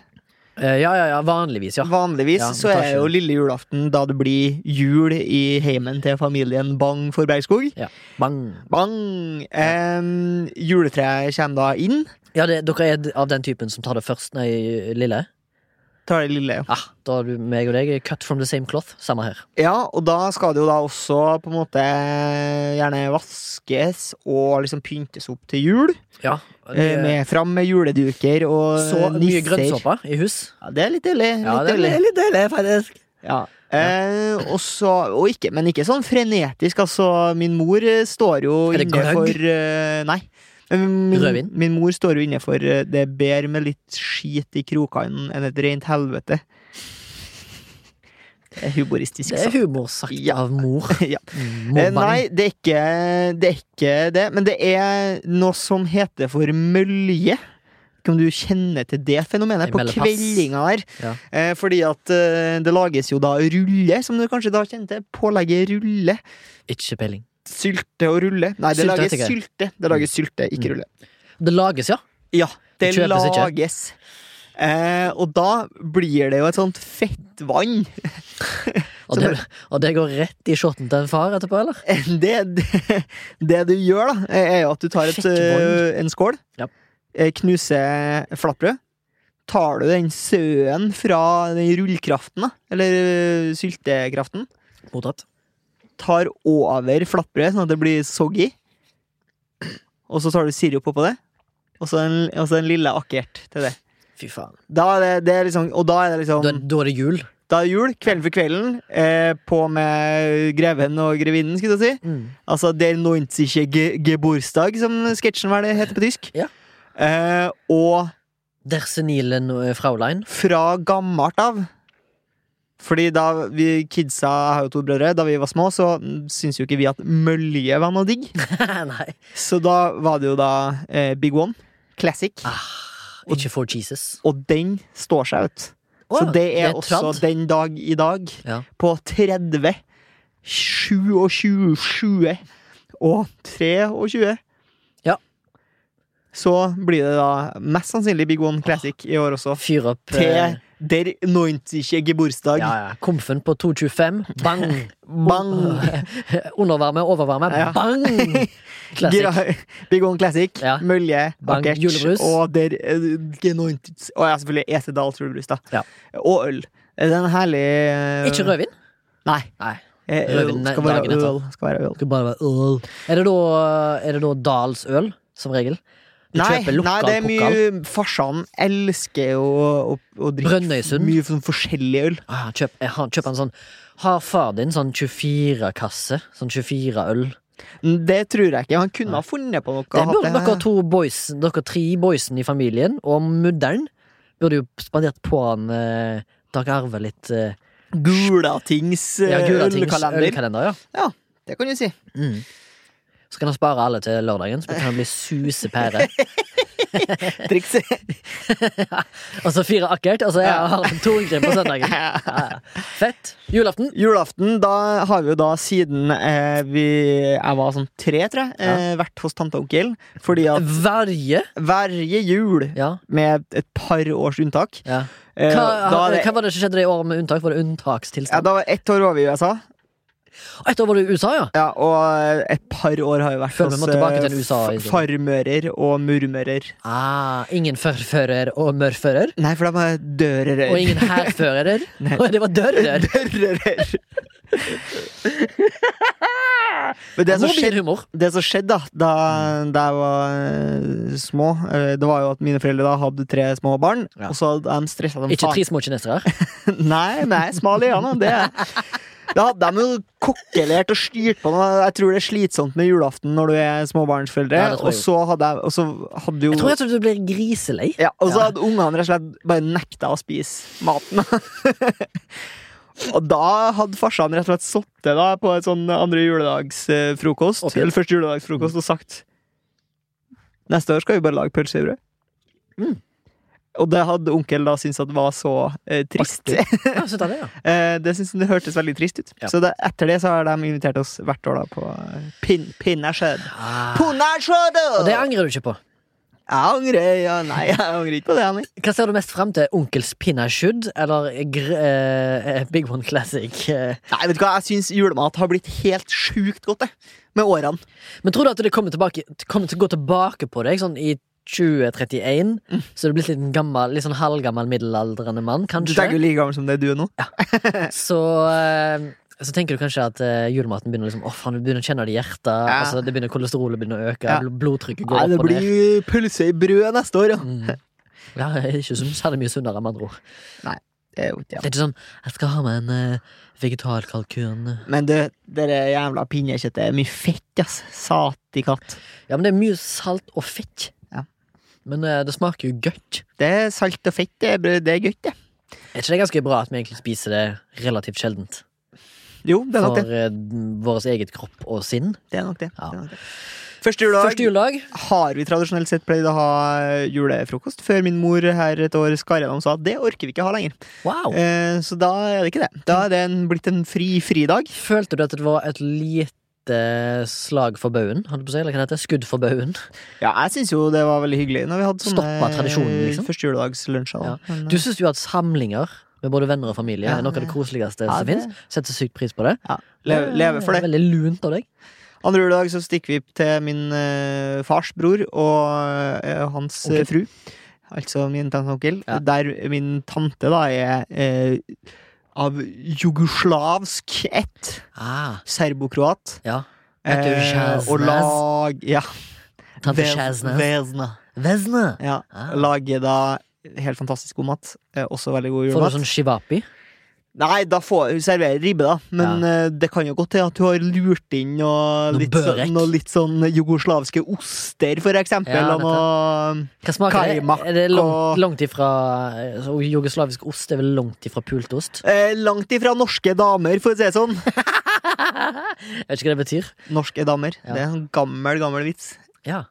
Speaker 2: Eh, ja, ja, ja. Vanligvis, ja.
Speaker 1: Vanligvis
Speaker 2: Ja,
Speaker 1: så
Speaker 2: det tar
Speaker 1: er
Speaker 2: ikke-
Speaker 1: jo lille julaften da det blir jul i heimen til familien Bang for Bergskog.
Speaker 2: Bang.
Speaker 1: Bang! Em, juletreet kommer da inn.
Speaker 2: Ja, det, dere er av den typen som tar det først, nei, lille.
Speaker 1: Tar det lille.
Speaker 2: Ah, da er du, meg og deg er cut from the same cloth. Samme her.
Speaker 1: Ja, og da skal det jo da også på en måte gjerne vaskes og liksom pyntes opp til jul.
Speaker 2: Ja.
Speaker 1: Eh, med, eh, fram med juleduker og
Speaker 2: så mye
Speaker 1: nisser.
Speaker 2: grønnsåpe i hus.
Speaker 1: Ja, det er litt deilig.
Speaker 2: Ja,
Speaker 1: litt
Speaker 2: det
Speaker 1: deilig.
Speaker 2: er litt deilig, faktisk.
Speaker 1: Ja. Eh, og så, og ikke, men ikke sånn frenetisk. Altså, min mor eh, står jo
Speaker 2: Er det
Speaker 1: inne
Speaker 2: gløgg?
Speaker 1: for eh, Nei. Men Min,
Speaker 2: Rødvin?
Speaker 1: min mor står jo inne for eh, det er bedre med litt skit i krokene enn et rent helvete. Det er humoristisk.
Speaker 2: Det er
Speaker 1: sagt.
Speaker 2: humor sagt
Speaker 1: Ja.
Speaker 2: av mor.
Speaker 1: (laughs) ja.
Speaker 2: Mor
Speaker 1: Eh, nei, det er, ikke, det er ikke det. Men det er noe som heter for mølje. Ikke om du kjenner til det fenomenet
Speaker 2: Jeg
Speaker 1: på
Speaker 2: melder pass.
Speaker 1: kveldinga der.
Speaker 2: Ja.
Speaker 1: Eh, fordi at eh, det lages jo da rulle, som du kanskje da kjente. Pålegget rulle.
Speaker 2: Ikke peiling.
Speaker 1: Sylte og rulle. Nei, det
Speaker 2: Sylte
Speaker 1: lages
Speaker 2: vet jeg ikke.
Speaker 1: sylte. Det lages sylte, ikke rulle.
Speaker 2: Det lages, ja.
Speaker 1: Ja,
Speaker 2: Det
Speaker 1: det
Speaker 2: kjøpes ikke.
Speaker 1: lages. Eh, og da blir det jo et sånt fettvann.
Speaker 2: Og det, og det går rett i shotten til en far etterpå, eller?
Speaker 1: (laughs) det, det, det du gjør, da, er jo at du tar et,
Speaker 2: Fett vann.
Speaker 1: eh, en skål,
Speaker 2: Ja.
Speaker 1: eh, knuser flatbrød. Tar du den søen fra den rullkraften, da, eller eh, syltekraften,
Speaker 2: Mottatt.
Speaker 1: tar over flatbrødet, sånn at det blir soggy. Og så tar du sirup oppå det, og så en, og så en lille akkert til det.
Speaker 2: Fy faen.
Speaker 1: Da er det, det er liksom, og da er det liksom
Speaker 2: Da, da er det jul.
Speaker 1: Da er det jul, kvelden for kvelden, eh, på med greven og grevinnen, skulle jeg si. Altså, der noens ikke ge- gebursdag, som sketsjen hva er det heter på tysk.
Speaker 2: Ja.
Speaker 1: Eh, og
Speaker 2: Der senile no- eh,
Speaker 1: (laughs)
Speaker 2: Fraulein.
Speaker 1: fra gammelt av Fordi da vi kidsa jeg har jo to brødre, da vi var små, så syntes jo ikke vi at mølje var noe digg.
Speaker 2: Nei.
Speaker 1: Så da var det jo da eh, Big One, Classic.
Speaker 2: Ah, ikke for Jesus.
Speaker 1: Og den står seg ut.
Speaker 2: Å,
Speaker 1: så det er, også
Speaker 2: tradd.
Speaker 1: den dag i dag,
Speaker 2: Ja.
Speaker 1: på 30, 27, 20 og 23
Speaker 2: Ja.
Speaker 1: Så blir det da mest sannsynlig Big One Classic i år også.
Speaker 2: Fyr opp eh,
Speaker 1: Til der nointische gebursdag.
Speaker 2: ja, ja. komfen på 225. Bang!
Speaker 1: (laughs) Bang!
Speaker 2: (laughs) Undervarme, overvarme.
Speaker 1: Ja. (laughs)
Speaker 2: Bang! Classic.
Speaker 1: Gra- Big One Classic,
Speaker 2: Ja.
Speaker 1: mølje,
Speaker 2: Bang,
Speaker 1: bakert
Speaker 2: julebrus.
Speaker 1: og der genointis Og ja, selvfølgelig Esedals julebrus, da.
Speaker 2: Ja.
Speaker 1: Og øl. Det er en herlig eh,
Speaker 2: Ikke rødvin.
Speaker 1: Nei.
Speaker 2: Nei.
Speaker 1: Eh, Øl
Speaker 2: Rødvin
Speaker 1: skal være
Speaker 2: dagen etter.
Speaker 1: øl. Skal være øl.
Speaker 2: Skal bare være øl. Er det da, eh, er det da Dalsøl, som regel? Du
Speaker 1: Nei,
Speaker 2: kjøper lokal
Speaker 1: nei, det er
Speaker 2: pokal.
Speaker 1: mye Farsan elsker jo å, å, å drikke
Speaker 2: Brønnøysund.
Speaker 1: mye sånn forskjellig øl.
Speaker 2: Ah, kjøp, eh, han- kjøp en sånn Har far din sånn 24-kasse? Sånn 24 øl?
Speaker 1: Det tror jeg ikke. Han kunne ha funnet på noe.
Speaker 2: Det burde
Speaker 1: hatt
Speaker 2: dere to boys, dere tre boysen i familien, og mudderen, burde jo spandert på han eh, Dag Arve litt eh,
Speaker 1: Gulatings eh,
Speaker 2: ja, Gulatings
Speaker 1: ølkalender.
Speaker 2: ølkalender. Ja.
Speaker 1: Det kan du si.
Speaker 2: Mm. Så kan han spare alle til lørdagen, så kan han bli
Speaker 1: (laughs)
Speaker 2: susepære.
Speaker 1: Triks.
Speaker 2: og så fire akkert, og så er
Speaker 1: Ja.
Speaker 2: han to uker på
Speaker 1: (laughs)
Speaker 2: søndagen. (laughs) Ja. Fett. Julaften.
Speaker 1: Julaften, da har vi jo da siden eh, vi, jeg var sånn tre, tror jeg, eh, vært hos tante og onkel. Fordi at
Speaker 2: Verje.
Speaker 1: hverje jul,
Speaker 2: Ja.
Speaker 1: med et par års unntak
Speaker 2: ja.
Speaker 1: eh,
Speaker 2: Hva,
Speaker 1: da er det,
Speaker 2: hva var det som skjedde det året med unntak? Var det
Speaker 1: ja,
Speaker 2: unntakstilstand?
Speaker 1: da var Ett år var vi i USA,
Speaker 2: Ett år var du i USA, ja.
Speaker 1: ja, og eh, et par år har vi vært
Speaker 2: Føler vi må tilbake til
Speaker 1: eh,
Speaker 2: USA i
Speaker 1: f-
Speaker 2: stedet.
Speaker 1: farmører og murmører.
Speaker 2: Ah, ingen førfører og mørfører.
Speaker 1: Nei, for de er dørører.
Speaker 2: Og
Speaker 1: (laughs)
Speaker 2: ingen hærfører.
Speaker 1: Nei.
Speaker 2: Å, det var dører!
Speaker 1: dørører.
Speaker 2: (laughs)
Speaker 1: Men det som skjedde
Speaker 2: Mobil humor.
Speaker 1: det som skjedde da, da,
Speaker 2: Mm.
Speaker 1: da jeg var eh, små, eh, det var jo at mine foreldre da hadde tre små barn.
Speaker 2: Ja.
Speaker 1: Og så hadde de stressa dem
Speaker 2: Ikke tre små kinesere.
Speaker 1: Nei, nei, smal i øynene. Det er jeg. Da hadde de jo kokkelert og styrt på noe. Jeg tror det er slitsomt med julaften når du er småbarnsforeldre.
Speaker 2: Ja, det tror jeg
Speaker 1: og, så hadde jeg, og så hadde jo
Speaker 2: Jeg tror jeg tror du blir griselei.
Speaker 1: ja, Og så
Speaker 2: Ja.
Speaker 1: hadde ungene rett og slett bare nekta å spise maten. (laughs) og da hadde farsan rett og slett sittet da på et sånn andre juledagsfrokost,
Speaker 2: Ok.
Speaker 1: eller første juledagsfrokost, og sagt Neste år skal vi bare lage pølse i brød.
Speaker 2: Mm.
Speaker 1: Og det hadde onkel da syntes at var så eh, trist.
Speaker 2: Artig.
Speaker 1: (laughs)
Speaker 2: Ja, så tar det, ja.
Speaker 1: Eh, det syntes han det hørtes veldig trist ut.
Speaker 2: Ja.
Speaker 1: Så det, etter det så har de invitert oss hvert år da på eh, pin, Pinnasjød.
Speaker 2: Ah.
Speaker 1: Punnasjød!
Speaker 2: Og det angrer du ikke på.
Speaker 1: Jeg angrer ja, Nei, jeg angrer ikke på det. Nei.
Speaker 2: Hva ser du mest fram til? Onkels pinnashood eller gr eh, Big One Classic? eh?
Speaker 1: nei, vet du hva, Jeg syns julemat har blitt helt sjukt godt, det. Med årene.
Speaker 2: Men tror du at det kommer, tilbake, kommer til å gå tilbake på deg sånn i 2031?
Speaker 1: Mm.
Speaker 2: Så du er blitt litt gammel, litt sånn halvgammel middelaldrende mann,
Speaker 1: Du
Speaker 2: kanskje?
Speaker 1: tenker jo like gammel som det du er nå.
Speaker 2: så, eh, så tenker du kanskje at eh, julematen begynner liksom, åh faen, du begynner å kjenne det i hjertet.
Speaker 1: Ja.
Speaker 2: Altså, det begynner, kolesterolet begynner å øke,
Speaker 1: Ja.
Speaker 2: bl- blodtrykket går
Speaker 1: Nei, det
Speaker 2: opp og ned.
Speaker 1: blir pølse i brød neste år, ja.
Speaker 2: Mm. (laughs) Ja, jeg er ikke så særlig mye sunnere, med andre ord.
Speaker 1: Det er jo ikke,
Speaker 2: Det er ikke sånn 'jeg skal ha meg en uh, vegetarkalkun'.
Speaker 1: ja. Men du, det der jævla pinnekjøttet er mye fett, ass. Satikatt.
Speaker 2: Ja, men det er mye salt og fett.
Speaker 1: Ja.
Speaker 2: Men eh, det smaker jo godt.
Speaker 1: Det er salt og fett, det er, brød- det er godt, det.
Speaker 2: Er ikke det ganske bra at vi egentlig spiser det relativt sjeldent?
Speaker 1: Jo, det er nok
Speaker 2: For
Speaker 1: det.
Speaker 2: eh, vårt eget kropp og sinn.
Speaker 1: det, er nok det.
Speaker 2: Ja.
Speaker 1: det, er nok det. Første juledag
Speaker 2: Første juledag.
Speaker 1: har vi tradisjonelt sett pleid å ha eh, julefrokost, før min mor her et år skar gjennom og sa at det orker vi ikke ha lenger.
Speaker 2: Wow.
Speaker 1: Eh, så da er det ikke det. Da er det en, blitt en fri fridag.
Speaker 2: Følte du at det var et lite slag for baugen? holdt jeg på å si, Eller hva det heter? Skudd for baugen?
Speaker 1: Ja, jeg syns jo det var veldig hyggelig når vi hadde sånne
Speaker 2: Stoppa tradisjonen, liksom.
Speaker 1: første juledagslunsjer. da. Men, eh,
Speaker 2: Du syns jo at samlinger med både venner og familie
Speaker 1: Mm. Ja,
Speaker 2: er noe av
Speaker 1: det-
Speaker 2: det koseligste
Speaker 1: ja,
Speaker 2: som
Speaker 1: det-
Speaker 2: fins. Setter sykt pris på det.
Speaker 1: ja, leve, leve for det.
Speaker 2: Veldig lunt av deg.
Speaker 1: Andre juledag så stikker vi til min eh, fars bror og eh, hans eh,
Speaker 2: Onkel.
Speaker 1: fru. Altså min tante og onkel.
Speaker 2: Ja.
Speaker 1: Der min tante da er eh, av jugoslavsk ett.
Speaker 2: Ah,
Speaker 1: Serbokroat.
Speaker 2: ja.
Speaker 1: Eh, og lag... Ja.
Speaker 2: Tante
Speaker 1: Vez-
Speaker 2: Sjazna.
Speaker 1: Vezna.
Speaker 2: Vezna.
Speaker 1: Ja.
Speaker 2: Ah.
Speaker 1: Lager da helt fantastisk god mat. Eh, også veldig god
Speaker 2: Får du
Speaker 1: julemat.
Speaker 2: sånn shivapi?
Speaker 1: Nei, da får hun servere ribbe, da. Men eh, det kan jo godt til at du har lurt inn noe,
Speaker 2: Noe
Speaker 1: litt, sånn,
Speaker 2: børek.
Speaker 1: noe litt sånn jugoslavske oster, for eksempel.
Speaker 2: Ja,
Speaker 1: og noe
Speaker 2: Hva smaker det?
Speaker 1: Kaimak
Speaker 2: Er det langt,
Speaker 1: og-
Speaker 2: langt ifra eh, så Jugoslavisk ost er vel langt ifra pultost?
Speaker 1: eh, Langt ifra norske damer, for å si det sånn.
Speaker 2: Jeg vet ikke hva det betyr.
Speaker 1: Norske damer.
Speaker 2: Ja.
Speaker 1: Det er en sånn gammel, gammel vits.
Speaker 2: Ja.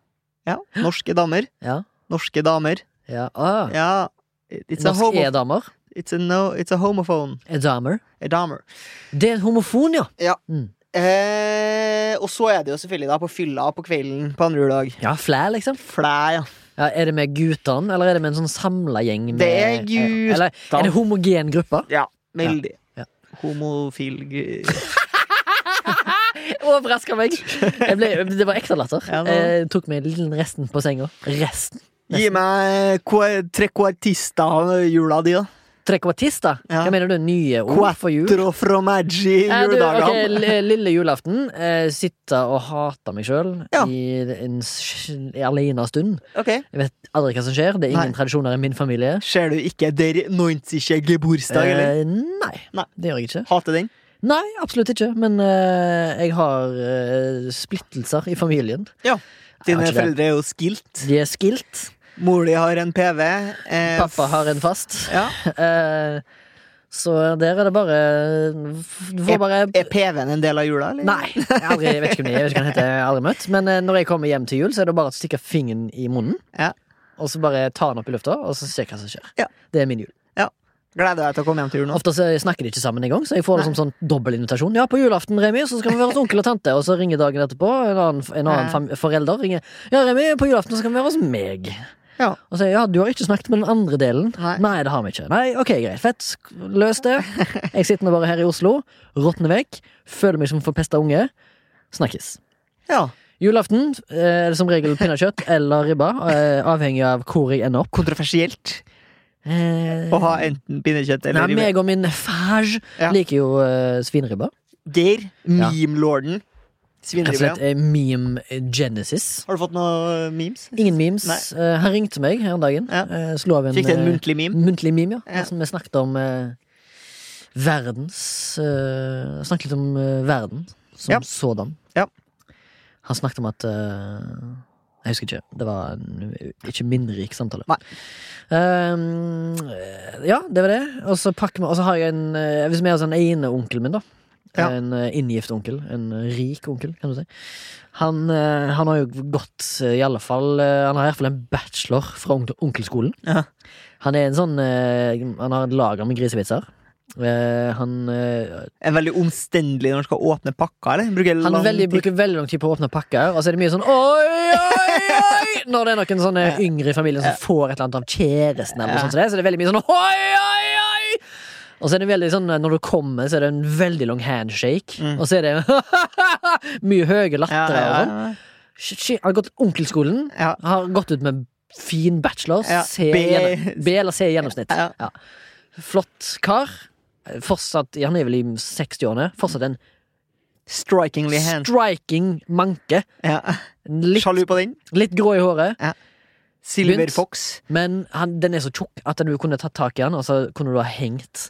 Speaker 1: Ja, Norske damer.
Speaker 2: ja.
Speaker 1: Norske damer.
Speaker 2: ja. Ah.
Speaker 1: Ja. It's a,
Speaker 2: Norsk
Speaker 1: homo
Speaker 2: e-damer.
Speaker 1: it's, a no, it's a homophone.
Speaker 2: E-damer.
Speaker 1: A damer.
Speaker 2: Det er en homofon, ja.
Speaker 1: Eh, og så er det jo selvfølgelig da på fylla på kvelden på andre juledag.
Speaker 2: Ja, Flæ, liksom.
Speaker 1: Flæ, ja.
Speaker 2: Ja, er det med guttene, eller er det med en sånn samla gjeng? Med,
Speaker 1: Det er guttene.
Speaker 2: Eller er det homogen gruppe?
Speaker 1: (laughs) Ja, veldig.
Speaker 2: Ja.
Speaker 1: Homofil gr-
Speaker 2: Overraska meg! Jeg ble, det var ekte latter.
Speaker 1: Ja, det var-
Speaker 2: Eh, tok meg lille resten på senga. Resten.
Speaker 1: Gi meg qua- tre quartista av jula di, da.
Speaker 2: Trekvartista?
Speaker 1: Ja.
Speaker 2: Hva mener du? Nye ord Oh, for jul?
Speaker 1: Quattro fromaggi i
Speaker 2: Ja, Eh, du, ok,
Speaker 1: juledagene.
Speaker 2: li- lille julaften. Eh, sitte og hate meg sjøl
Speaker 1: Ja.
Speaker 2: i en sj- aleine stund.
Speaker 1: Ok.
Speaker 2: Jeg vet aldri hva som skjer. Det er ingen
Speaker 1: Nei.
Speaker 2: tradisjoner i min familie.
Speaker 1: Ser du ikke Der Neunzige Geburtstag, eller?
Speaker 2: Eh, nei,
Speaker 1: Nei.
Speaker 2: det gjør jeg ikke.
Speaker 1: Hater den?
Speaker 2: Nei, absolutt ikke. Men eh, jeg har eh, splittelser i familien.
Speaker 1: Ja. Dine
Speaker 2: Jeg har ikke det.
Speaker 1: foreldre er jo skilt.
Speaker 2: De er skilt.
Speaker 1: Mor di har en PV. Eh,
Speaker 2: Pappa har en fast.
Speaker 1: Ja.
Speaker 2: Eh, så der er det bare Du får bare
Speaker 1: Er PV-en en del av jula, eller?
Speaker 2: Nei, jeg, har aldri, jeg vet ikke hvem det er, jeg vet ikke hva han heter, jeg har aldri møtt. Men eh, når jeg kommer hjem til jul, så er det bare å stikke fingeren i munnen.
Speaker 1: Ja.
Speaker 2: Og så bare ta den opp i lufta, og så se hva som skjer.
Speaker 1: Ja.
Speaker 2: Det er min jul.
Speaker 1: Gleder deg til å komme hjem til jul nå.
Speaker 2: Ofte så snakker de ikke sammen engang, så jeg får det som sånn dobbel invitasjon. Ja, på julaften, Remi, så skal vi være hos onkel og tante, og så ringer dagen etterpå en annen, en annen
Speaker 1: Ja.
Speaker 2: fam- forelder. ringer Ja, Remi, på julaften så skal vi være hos meg.
Speaker 1: Ja.
Speaker 2: Og sier ja, du har ikke snakket med den andre delen.
Speaker 1: Nei.
Speaker 2: det har vi ikke. Nei, ok, greit, fett. Løs det. Jeg sitter nå bare her i Oslo, råtner vekk, føler meg som en forpesta unge. Snakkes.
Speaker 1: Ja.
Speaker 2: Julaften, eh, som regel pinnekjøtt eller ribba, eh, avhengig av hvor jeg ender opp.
Speaker 1: Kontroversielt
Speaker 2: Eh,
Speaker 1: å ha enten pinnekjøtt eller
Speaker 2: Nei,
Speaker 1: ribbe.
Speaker 2: meg og min fage
Speaker 1: Ja.
Speaker 2: liker jo eh, svinribba.
Speaker 1: Geir,
Speaker 2: Ja.
Speaker 1: meme-lorden.
Speaker 2: Rett og
Speaker 1: Svinribbe.
Speaker 2: slett eh, meme genesis.
Speaker 1: Har du fått noe memes?
Speaker 2: Ingen memes.
Speaker 1: Nei.
Speaker 2: Eh, han ringte meg her om dagen.
Speaker 1: Ja.
Speaker 2: Eh, slo av en,
Speaker 1: Fikk du en
Speaker 2: eh,
Speaker 1: muntlig meme?
Speaker 2: muntlig meme, ja.
Speaker 1: Ja.
Speaker 2: Som vi snakket om eh, verdens eh, Snakket litt om eh, verden som
Speaker 1: Ja.
Speaker 2: sådan.
Speaker 1: Ja.
Speaker 2: Han snakket om at eh, Jeg husker ikke. Det var en ikke minnerik samtale.
Speaker 1: Nei.
Speaker 2: eh, Ehm, ja, det var det. Og så pakker vi Og så har jeg en eh, Hvis vi har sånn ene onkelen min, da.
Speaker 1: Ja.
Speaker 2: En eh, inngift onkel. En eh, rik onkel, kan du si. Han, eh, han har jo gått, eh, i alle fall eh, Han har i hvert fall en bachelor fra onkel onkelskolen.
Speaker 1: Ja.
Speaker 2: Han er en sånn eh, Han har et lager med grisevitser. Eh, han eh,
Speaker 1: Er veldig omstendelig når han skal åpne pakka, eller? Bruker
Speaker 2: han
Speaker 1: lang
Speaker 2: veldig,
Speaker 1: tid.
Speaker 2: bruker veldig lang tid på å åpne pakker, og så er det mye sånn oi, oi, oi!
Speaker 1: (laughs)
Speaker 2: Når det er noen sånne yngre i familien som får et eller annet av kjæresten, eller noe sånt, som det, så er det veldig mye sånn oi, oi, oi! Og så er det veldig sånn, når du kommer, så er det en veldig lang handshake,
Speaker 1: Mm.
Speaker 2: og så er det (laughs) mye høye
Speaker 1: ja,
Speaker 2: latter
Speaker 1: ja,
Speaker 2: og sånn.
Speaker 1: ja.
Speaker 2: Shit, shit, har gått onkelskolen,
Speaker 1: ja.
Speaker 2: har gått ut med fin bachelor,
Speaker 1: Ja,
Speaker 2: C,
Speaker 1: B.
Speaker 2: gjennom- B eller C i gjennomsnitt.
Speaker 1: Ja.
Speaker 2: Flott kar. Fortsatt, han er vel i 60-årene, fortsatt en
Speaker 1: Strikingly hands.
Speaker 2: striking manke.
Speaker 1: Ja.
Speaker 2: Litt
Speaker 1: Sjalu på den.
Speaker 2: Litt grå i håret,
Speaker 1: Silver
Speaker 2: Begynt.
Speaker 1: Fox.
Speaker 2: men han, den er så tjukk at du kunne tatt tak i han, og så kunne du ha hengt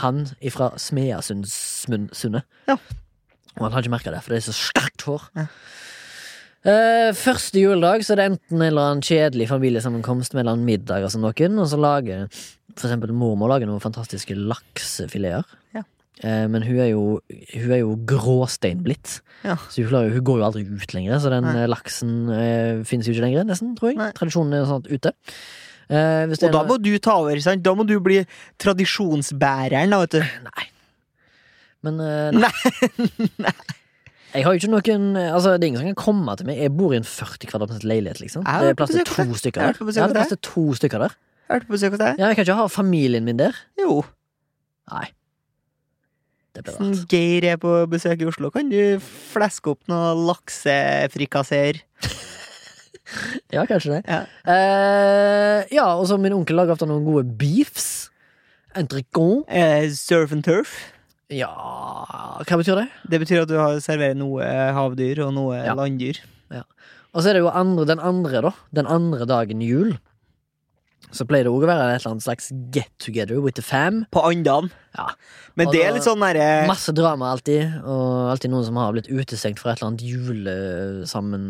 Speaker 2: han ifra Smeasundsundet.
Speaker 1: Ja.
Speaker 2: Og han har ikke merka det, for det er så sterkt hår. Eh, første juledag så er det enten en eller annen kjedelig familiesammenkomst med en eller annen middag, og, sånn noen, og så lager for eksempel mormor lager noen fantastiske laksefileter.
Speaker 1: Ja.
Speaker 2: Eh, men hun er jo, hun er jo gråstein blitt.
Speaker 1: Ja.
Speaker 2: Så hun, klarer, hun går jo aldri ut lenger, så den
Speaker 1: Nei.
Speaker 2: eh, laksen eh, finnes jo ikke lenger, nesten, tror jeg.
Speaker 1: Nei.
Speaker 2: Tradisjonen er sånn at ute. Eh, hvis det
Speaker 1: Og
Speaker 2: er
Speaker 1: da
Speaker 2: noe-
Speaker 1: må du ta over, sant? Da må du bli tradisjonsbæreren, da, vet du.
Speaker 2: Nei. Men eh, (laughs) nei. Jeg har jo ikke noen Altså, det er ingen som kan komme til meg. Jeg bor i en 40 kvadratmeters leilighet, liksom.
Speaker 1: Jeg har
Speaker 2: Det er
Speaker 1: vært
Speaker 2: plass
Speaker 1: på
Speaker 2: til
Speaker 1: besøk hos
Speaker 2: to
Speaker 1: deg.
Speaker 2: stykker
Speaker 1: Jeg har
Speaker 2: der.
Speaker 1: vært på besøk
Speaker 2: Ja, det er
Speaker 1: hos
Speaker 2: plass til to stykker der.
Speaker 1: Har du vært på besøk hos deg?
Speaker 2: Ja, jeg kan ikke ha familien min der.
Speaker 1: Jo.
Speaker 2: Nei. Det blir
Speaker 1: Sånn
Speaker 2: rart.
Speaker 1: Geir er på besøk i Oslo. Kan du fleske opp noe laksefrikasser?
Speaker 2: Ja, kanskje det.
Speaker 1: Ja.
Speaker 2: Eh, ja, og så min onkel lager ofte noen gode beefs. Entrecôte.
Speaker 1: Eh, surf and turf.
Speaker 2: Ja Hva betyr det?
Speaker 1: Det betyr at du har- serverer noe havdyr og noe
Speaker 2: Ja.
Speaker 1: landdyr.
Speaker 2: Og så er det jo andre, den andre, da. Den andre dagen jul. Så pleier det òg å være et eller annet slags get together with the fam.
Speaker 1: På andan.
Speaker 2: Ja.
Speaker 1: Men
Speaker 2: Og
Speaker 1: det
Speaker 2: da-
Speaker 1: er litt sånn derre
Speaker 2: Masse drama alltid, og alltid noen som har blitt utestengt fra et eller annet julesammen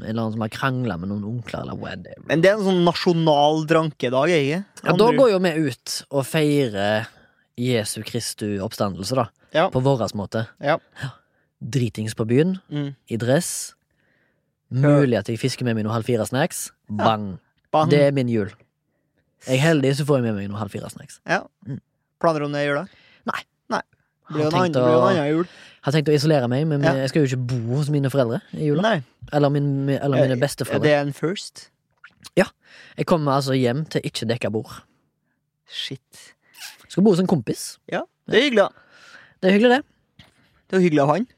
Speaker 2: En eller annen som har krangla med noen onkler, eller whatever.
Speaker 1: Men det er en sånn nasjonal drankedag, er det ikke?
Speaker 2: Ja, da
Speaker 1: Andre-
Speaker 2: går jo vi ut og feirer Jesu Kristu oppstandelse, da.
Speaker 1: Ja.
Speaker 2: På vår måte.
Speaker 1: Ja.
Speaker 2: Dritings på byen,
Speaker 1: Mm.
Speaker 2: i dress. Mulig at jeg fisker med meg noen halv fire-snacks. Bang.
Speaker 1: Bang.
Speaker 2: Det er min jul. Jeg er heldig, så får jeg med meg noen halv fire-snacks.
Speaker 1: Ja.
Speaker 2: Mm.
Speaker 1: Planer om det i jula?
Speaker 2: Nei.
Speaker 1: Nei. Det blir
Speaker 2: Har
Speaker 1: en annen
Speaker 2: tenkt,
Speaker 1: det blir en
Speaker 2: å,
Speaker 1: annen jul.
Speaker 2: har tenkt å isolere meg, men
Speaker 1: Ja.
Speaker 2: jeg skal jo ikke bo hos mine foreldre i jula.
Speaker 1: Nei. Eh,
Speaker 2: Eller, min, eller mine besteforeldre.
Speaker 1: Det er en first.
Speaker 2: Jeg kommer altså hjem til ikke dekka bord.
Speaker 1: Shit.
Speaker 2: Skal bo hos en kompis.
Speaker 1: Ja, det er hyggelig, da.
Speaker 2: Det er hyggelig, det.
Speaker 1: Det var hyggelig av han.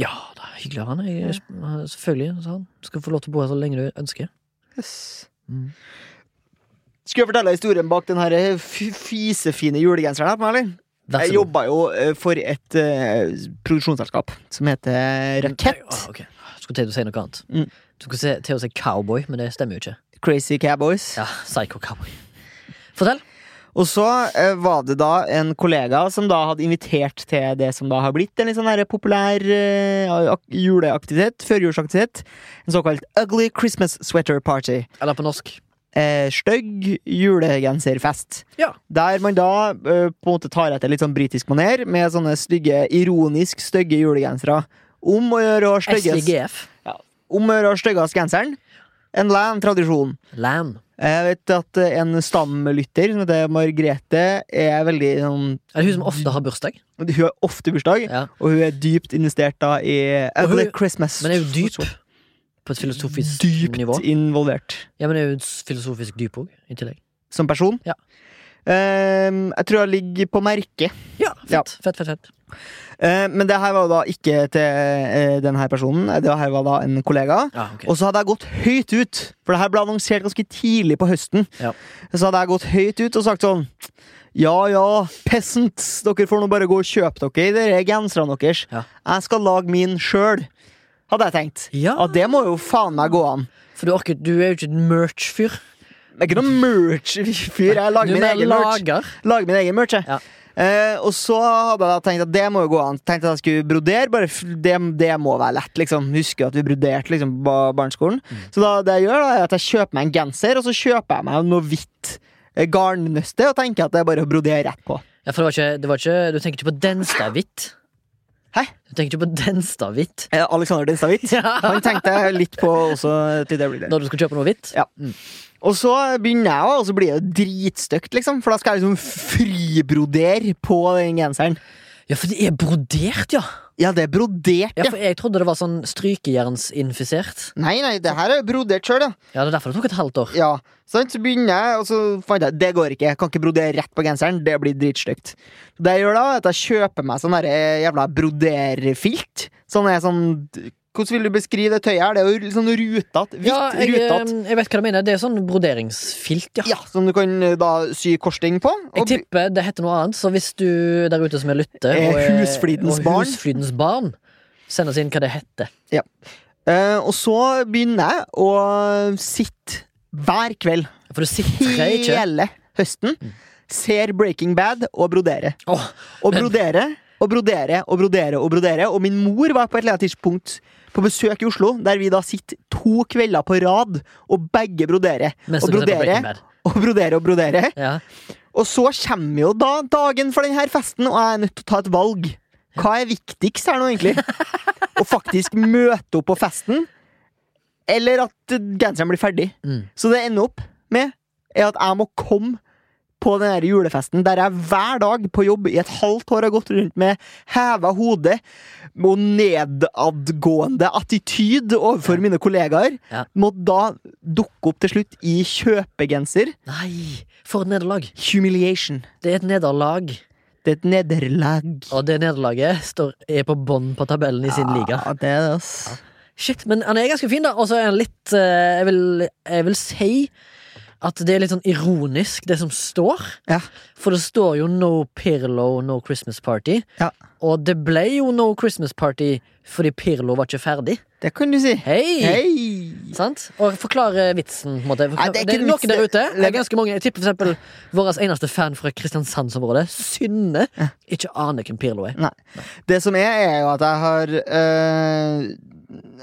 Speaker 2: Ja, det er hyggelig av han. Jeg, selvfølgelig. sa han. Skal få lov til å bo her så lenge du ønsker.
Speaker 1: Yes.
Speaker 2: Mm.
Speaker 1: Skal jeg fortelle historien bak den her f- fisefine julegenseren her på meg, eller?
Speaker 2: Vær så
Speaker 1: Jeg
Speaker 2: god.
Speaker 1: jobba jo eh, for et eh, produksjonsselskap som heter Rakett.
Speaker 2: Ah, ok. Jeg Skulle til å si noe annet.
Speaker 1: Mm.
Speaker 2: Du skulle se- til å si cowboy, men det stemmer jo ikke.
Speaker 1: Crazy Cowboys.
Speaker 2: Ja, Psycho cowboy. Fortell.
Speaker 1: Og så eh, var det da en kollega som da hadde invitert til det som da har blitt en litt sånn her populær eh, ak- juleaktivitet, førjulsaktivitet. En såkalt Ugly Christmas Sweater Party.
Speaker 2: Eller på norsk.
Speaker 1: Eh, Stygg julegenserfest.
Speaker 2: Ja.
Speaker 1: Der man da eh, på en måte tar etter litt sånn britisk maner med sånne stygge, ironisk stygge julegensere. Om å gjøre å ha styggest-
Speaker 2: SIGF.
Speaker 1: om å gjøre å ha styggest genseren. En lang tradisjon.
Speaker 2: Lam.
Speaker 1: Jeg vet at eh, en stamlytter som heter Margrethe, er veldig sånn
Speaker 2: Er det hun som ofte har bursdag?
Speaker 1: Hun har ofte bursdag,
Speaker 2: Ja.
Speaker 1: og hun er dypt investert da i
Speaker 2: Og hun-
Speaker 1: Ugly Christmas.
Speaker 2: Men er hun dyp? På et filosofisk
Speaker 1: Dypt
Speaker 2: nivå?
Speaker 1: involvert
Speaker 2: Ja, men er hun filosofisk dyp òg, i tillegg?
Speaker 1: som person.
Speaker 2: Ja.
Speaker 1: Ehm, jeg tror jeg ligger på merket.
Speaker 2: Ja, fett.
Speaker 1: Ja.
Speaker 2: Fett, fett, fett.
Speaker 1: Eh, men det her var da ikke til eh, den her personen. Det her var da en kollega.
Speaker 2: Ja, ok.
Speaker 1: Og så hadde jeg gått høyt ut, for det her ble annonsert ganske tidlig på høsten.
Speaker 2: Ja.
Speaker 1: Så hadde jeg gått høyt ut og sagt sånn Ja ja, peasants, dere får nå bare gå og kjøpe dere de der genserne deres.
Speaker 2: Ja.
Speaker 1: Jeg skal lage min sjøl, hadde jeg tenkt.
Speaker 2: Ja.
Speaker 1: Ja, det må jo faen meg gå an.
Speaker 2: For du, orker, du er jo ikke en merch-fyr.
Speaker 1: Det er ikke noe merch-fyr. Jeg
Speaker 2: Du
Speaker 1: lager min
Speaker 2: mer
Speaker 1: egen merch.
Speaker 2: lager.
Speaker 1: Lager min egen merch, jeg.
Speaker 2: Ja.
Speaker 1: Eh, og så hadde jeg da tenkt at det må jo gå an. Tenkte at jeg skulle brodere. Bare f- det, det må være lett, liksom. Husker at vi broderte liksom, på ba- barneskolen.
Speaker 2: Mm.
Speaker 1: Så da, det jeg gjør, da, er at jeg kjøper meg en genser, og så kjøper jeg meg noe hvitt eh, garnnøste og tenker at det er bare å brodere rett på.
Speaker 2: Ja, for det var ikke, det var ikke Du tenker ikke på Denstad-hvitt?
Speaker 1: Hæ?
Speaker 2: Du tenker ikke på Denstad-hvitt?
Speaker 1: Eh, Alexander Denstad-Hvitt. (laughs) Han tenkte jeg litt på også et lite øyeblikk der.
Speaker 2: Når du skulle kjøpe noe hvitt?
Speaker 1: Ja. Og så begynner jeg, og så blir det dritstøkt, liksom. For da skal jeg liksom fribrodere på den genseren.
Speaker 2: Ja, for det er brodert, ja!
Speaker 1: Ja, det er brodert,
Speaker 2: Ja,
Speaker 1: ja.
Speaker 2: for Jeg trodde det var sånn strykejernsinfisert.
Speaker 1: Nei, nei, det her er brodert sjøl, ja.
Speaker 2: Ja, Det er derfor det tok et halvt år.
Speaker 1: ja. Sant? Så begynner jeg, og så fant jeg det går ikke. Jeg kan ikke brodere rett på genseren. Det blir dritstygt. Det jeg gjør da, er at jeg kjøper meg sånn derre jævla broderfilt. Sånn er sånn Hvordan vil du beskrive det tøyet her? Det er jo sånn rutete. Hvitt
Speaker 2: Ja, jeg,
Speaker 1: rutete.
Speaker 2: eh, jeg vet hva du mener. Det er sånn broderingsfilt, ja.
Speaker 1: Ja, som du kan eh, da sy korsting på.
Speaker 2: Jeg
Speaker 1: Og
Speaker 2: tipper det heter noe annet, så hvis du der ute som er lytter
Speaker 1: Er
Speaker 2: og, er-
Speaker 1: Eh, husflidens
Speaker 2: og
Speaker 1: barn.
Speaker 2: husflidens barn Send oss inn hva det heter.
Speaker 1: Eh, og så begynner jeg å sitte hver kveld
Speaker 2: For du sitrer ikke.
Speaker 1: hele høsten,
Speaker 2: Mm.
Speaker 1: ser Breaking Bad og broderer.
Speaker 2: Åh,
Speaker 1: Og broderer og broderer og broderer. Og broderer Og min mor var på et eller annet tidspunkt på besøk i Oslo, der vi da sitter to kvelder på rad og begge broderer.
Speaker 2: mens
Speaker 1: Og
Speaker 2: du ser på Breaking
Speaker 1: broderer
Speaker 2: Bad.
Speaker 1: og broderer og broderer.
Speaker 2: Ja.
Speaker 1: Og så kommer jo da dagen for denne festen, og jeg er nødt til å ta et valg. Hva er viktigst her nå, egentlig? Å faktisk møte opp på festen, eller at genseren blir ferdig.
Speaker 2: Mm.
Speaker 1: Så det ender opp med er at jeg må komme på den her julefesten der jeg hver dag på jobb i et halvt år har gått rundt med heva hode og nedadgående attityd overfor mine kollegaer,
Speaker 2: Ja.
Speaker 1: må da dukke opp til slutt i kjøpegenser.
Speaker 2: Nei, for et nederlag.
Speaker 1: Humiliation.
Speaker 2: Det er et nederlag.
Speaker 1: Det er et nederlag.
Speaker 2: Og det nederlaget står, er på bånn på tabellen i sin liga.
Speaker 1: Ja, det er det, ass.
Speaker 2: Shit, men han er ganske fin, da. Og så er han litt eh, jeg, vil, jeg vil si at det er litt sånn ironisk, det som står.
Speaker 1: Ja.
Speaker 2: For det står jo No Pirlo, No Christmas Party.
Speaker 1: Ja.
Speaker 2: Og det ble jo No Christmas Party fordi Pirlo var ikke ferdig.
Speaker 1: Det kan du si.
Speaker 2: Hei!
Speaker 1: Hei!
Speaker 2: Sant? Og forklare vitsen, på en måte.
Speaker 1: Nei,
Speaker 2: Forklare,
Speaker 1: det
Speaker 2: det,
Speaker 1: er ikke
Speaker 2: er
Speaker 1: en vits,
Speaker 2: noen der
Speaker 1: det-
Speaker 2: ute. Det
Speaker 1: det-
Speaker 2: er ganske mange. Jeg tipper for eksempel vår eneste fan fra Kristiansandsområdet, Synne, ikke aner hvem Pirlo er.
Speaker 1: Det som er, er jo at jeg har eh,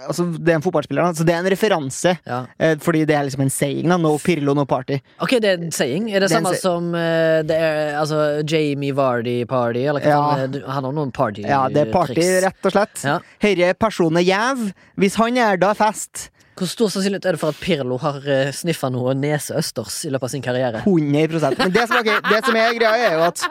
Speaker 1: Altså, det er en fotballspiller, da, så det er en referanse.
Speaker 2: Ja.
Speaker 1: eh, fordi det er liksom en saying, da. No Pirlo, no party.
Speaker 2: Ok, det er en saying. Er det
Speaker 1: Det er en
Speaker 2: samme
Speaker 1: say-
Speaker 2: som eh, det er, altså, Jamie Vardy Party? Eller hva
Speaker 1: Ja.
Speaker 2: faen er det? Han har noen party
Speaker 1: Ja, det er party,
Speaker 2: triks.
Speaker 1: rett og slett.
Speaker 2: Ja.
Speaker 1: Herre person er jæv. Hvis han er da fest
Speaker 2: Hvor stor sannsynlighet er det for at Pirlo har sniffa noe neseøsters i løpet av sin karriere?
Speaker 1: 100 Men det som, er gøy- det som er greia, er jo at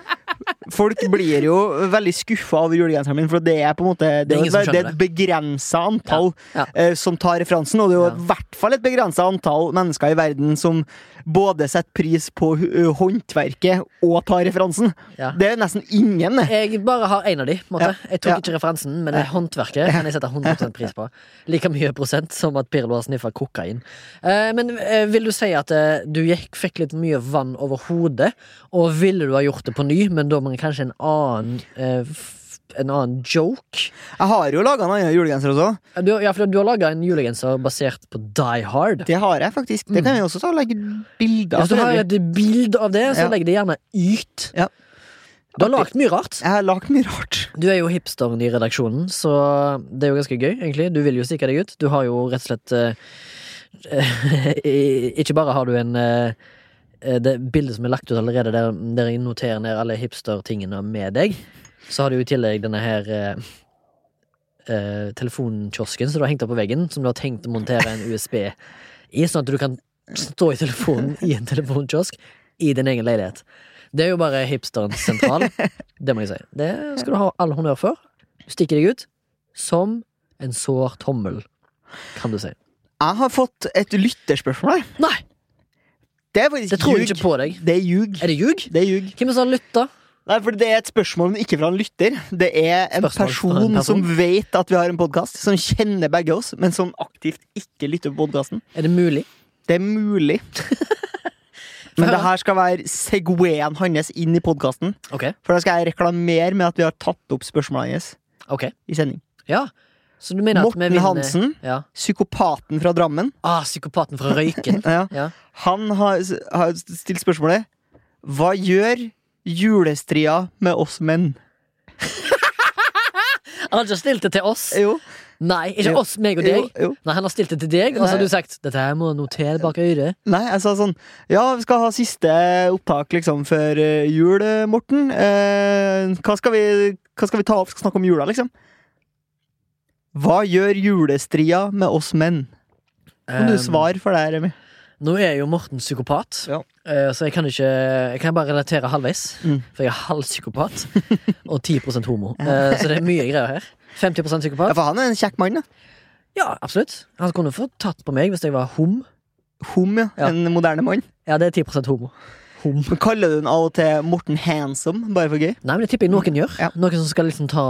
Speaker 1: folk blir jo veldig skuffa over julegenseren min, for det er på en måte Det, er
Speaker 2: ingen
Speaker 1: jo
Speaker 2: som
Speaker 1: et- det er
Speaker 2: skjønner
Speaker 1: et begrensa antall
Speaker 2: Ja,
Speaker 1: eh, som tar referansen, og det er jo i hvert fall et begrensa antall mennesker i verden som både setter pris på hu- håndverket og tar referansen.
Speaker 2: Ja.
Speaker 1: Det er nesten ingen. det.
Speaker 2: Jeg bare har én av de. på en måte Jeg tok
Speaker 1: Ja.
Speaker 2: ikke referansen, men det er håndverket kan jeg sette 100 pris på. Like mye prosent som at Pirlo har sniffa kokain. Eh, men eh, vil du si at eh, du gikk, fikk litt mye vann over hodet, og ville du ha gjort det på ny, men da med kanskje en annen eh, f- en annen joke?
Speaker 1: Jeg har jo laga en annen julegenser også.
Speaker 2: Ja, Du, ja, for du har laga en julegenser basert på Die Hard.
Speaker 1: Det har jeg faktisk. Det
Speaker 2: Mm.
Speaker 1: kan jeg også ta og legge bilder
Speaker 2: Hvis du har
Speaker 1: av.
Speaker 2: et bilde av det, så
Speaker 1: Ja.
Speaker 2: legg det gjerne ut.
Speaker 1: Ja.
Speaker 2: Du har lagd mye rart.
Speaker 1: Jeg har lagd mye rart.
Speaker 2: Du er jo hipsteren i redaksjonen, så det er jo ganske gøy, egentlig. Du vil jo stikke deg ut. Du har jo rett og slett eh, (laughs) i- Ikke bare har du en eh, eh, Det bildet som er lagt ut allerede, der, der jeg noterer ned alle hipstertingene med deg, så har du jo i tillegg denne her eh, eh, telefonkiosken som du har hengt opp på veggen, som du har tenkt å montere en USB i, sånn at du kan stå i telefonen i en telefonkiosk i din egen leilighet. Det er jo bare hipsterens sentral. Det må jeg si. Det skal du ha all honnør for. Du stikker deg ut som en sår tommel, kan du si.
Speaker 1: Jeg har fått et lytterspørsmål. her.
Speaker 2: Nei,
Speaker 1: Det er faktisk
Speaker 2: det tror jeg
Speaker 1: ljug.
Speaker 2: ikke på deg.
Speaker 1: Det er ljug.
Speaker 2: Er det ljug?
Speaker 1: Det er ljug.
Speaker 2: Hvem er det som har lytta?
Speaker 1: Nei, for det er et spørsmål, men ikke fra en lytter. Det er en
Speaker 2: Spørsmål fra en
Speaker 1: person,
Speaker 2: person.
Speaker 1: som vet at vi har en podkast, som kjenner begge oss, men som aktivt ikke lytter på podkasten.
Speaker 2: Er det mulig?
Speaker 1: Det
Speaker 2: (laughs)
Speaker 1: er mulig. Men det her skal være segwayen hans inn i podkasten.
Speaker 2: Ok.
Speaker 1: For da skal jeg reklamere med at vi har tatt opp spørsmålet hans
Speaker 2: ok
Speaker 1: i sending.
Speaker 2: Ja. Så du mener at vi
Speaker 1: Morten
Speaker 2: vinner
Speaker 1: Hansen,
Speaker 2: Ja.
Speaker 1: psykopaten fra Drammen,
Speaker 2: Ah, psykopaten fra
Speaker 1: (laughs)
Speaker 2: Røyken.
Speaker 1: ja,
Speaker 2: Ja.
Speaker 1: han har, har stilt spørsmålet Hva gjør julestria med oss menn?
Speaker 2: Han har ikke stilt det til oss.
Speaker 1: Jo.
Speaker 2: Nei, ikke
Speaker 1: Jo.
Speaker 2: oss, meg og
Speaker 1: Jo,
Speaker 2: deg.
Speaker 1: jo.
Speaker 2: Nei, han har stilt det til deg, og så har
Speaker 1: Nei.
Speaker 2: du sagt 'dette her må jeg notere bak øret'.
Speaker 1: Nei, jeg sa sånn Ja, vi skal ha siste opptak liksom før eh, jul, eh, Morten. Eh, hva, skal vi, hva skal vi ta opp? Skal snakke om jula, liksom? Hva gjør julestria med oss menn? Kan du
Speaker 2: Um,
Speaker 1: svare for det, her, Remi?
Speaker 2: Nå er jo Morten psykopat,
Speaker 1: Ja.
Speaker 2: eh, så jeg kan ikke Jeg kan bare relatere halvveis.
Speaker 1: Mm.
Speaker 2: For jeg er halv psykopat
Speaker 1: (laughs)
Speaker 2: og 10 homo. Eh, så det er mye greier her. 50
Speaker 1: Ja,
Speaker 2: psykopat?
Speaker 1: for han er en kjekk mann, da.
Speaker 2: Ja, absolutt. Han kunne fått tatt på meg hvis jeg var hom.
Speaker 1: Hom, ja.
Speaker 2: Ja.
Speaker 1: En moderne mann.
Speaker 2: Ja, det er 10 homo. Hom.
Speaker 1: Men Kaller du den av og til Morten Handsome, bare for gøy?
Speaker 2: Nei, men det tipper jeg noen gjør.
Speaker 1: Ja.
Speaker 2: Noen som skal liksom ta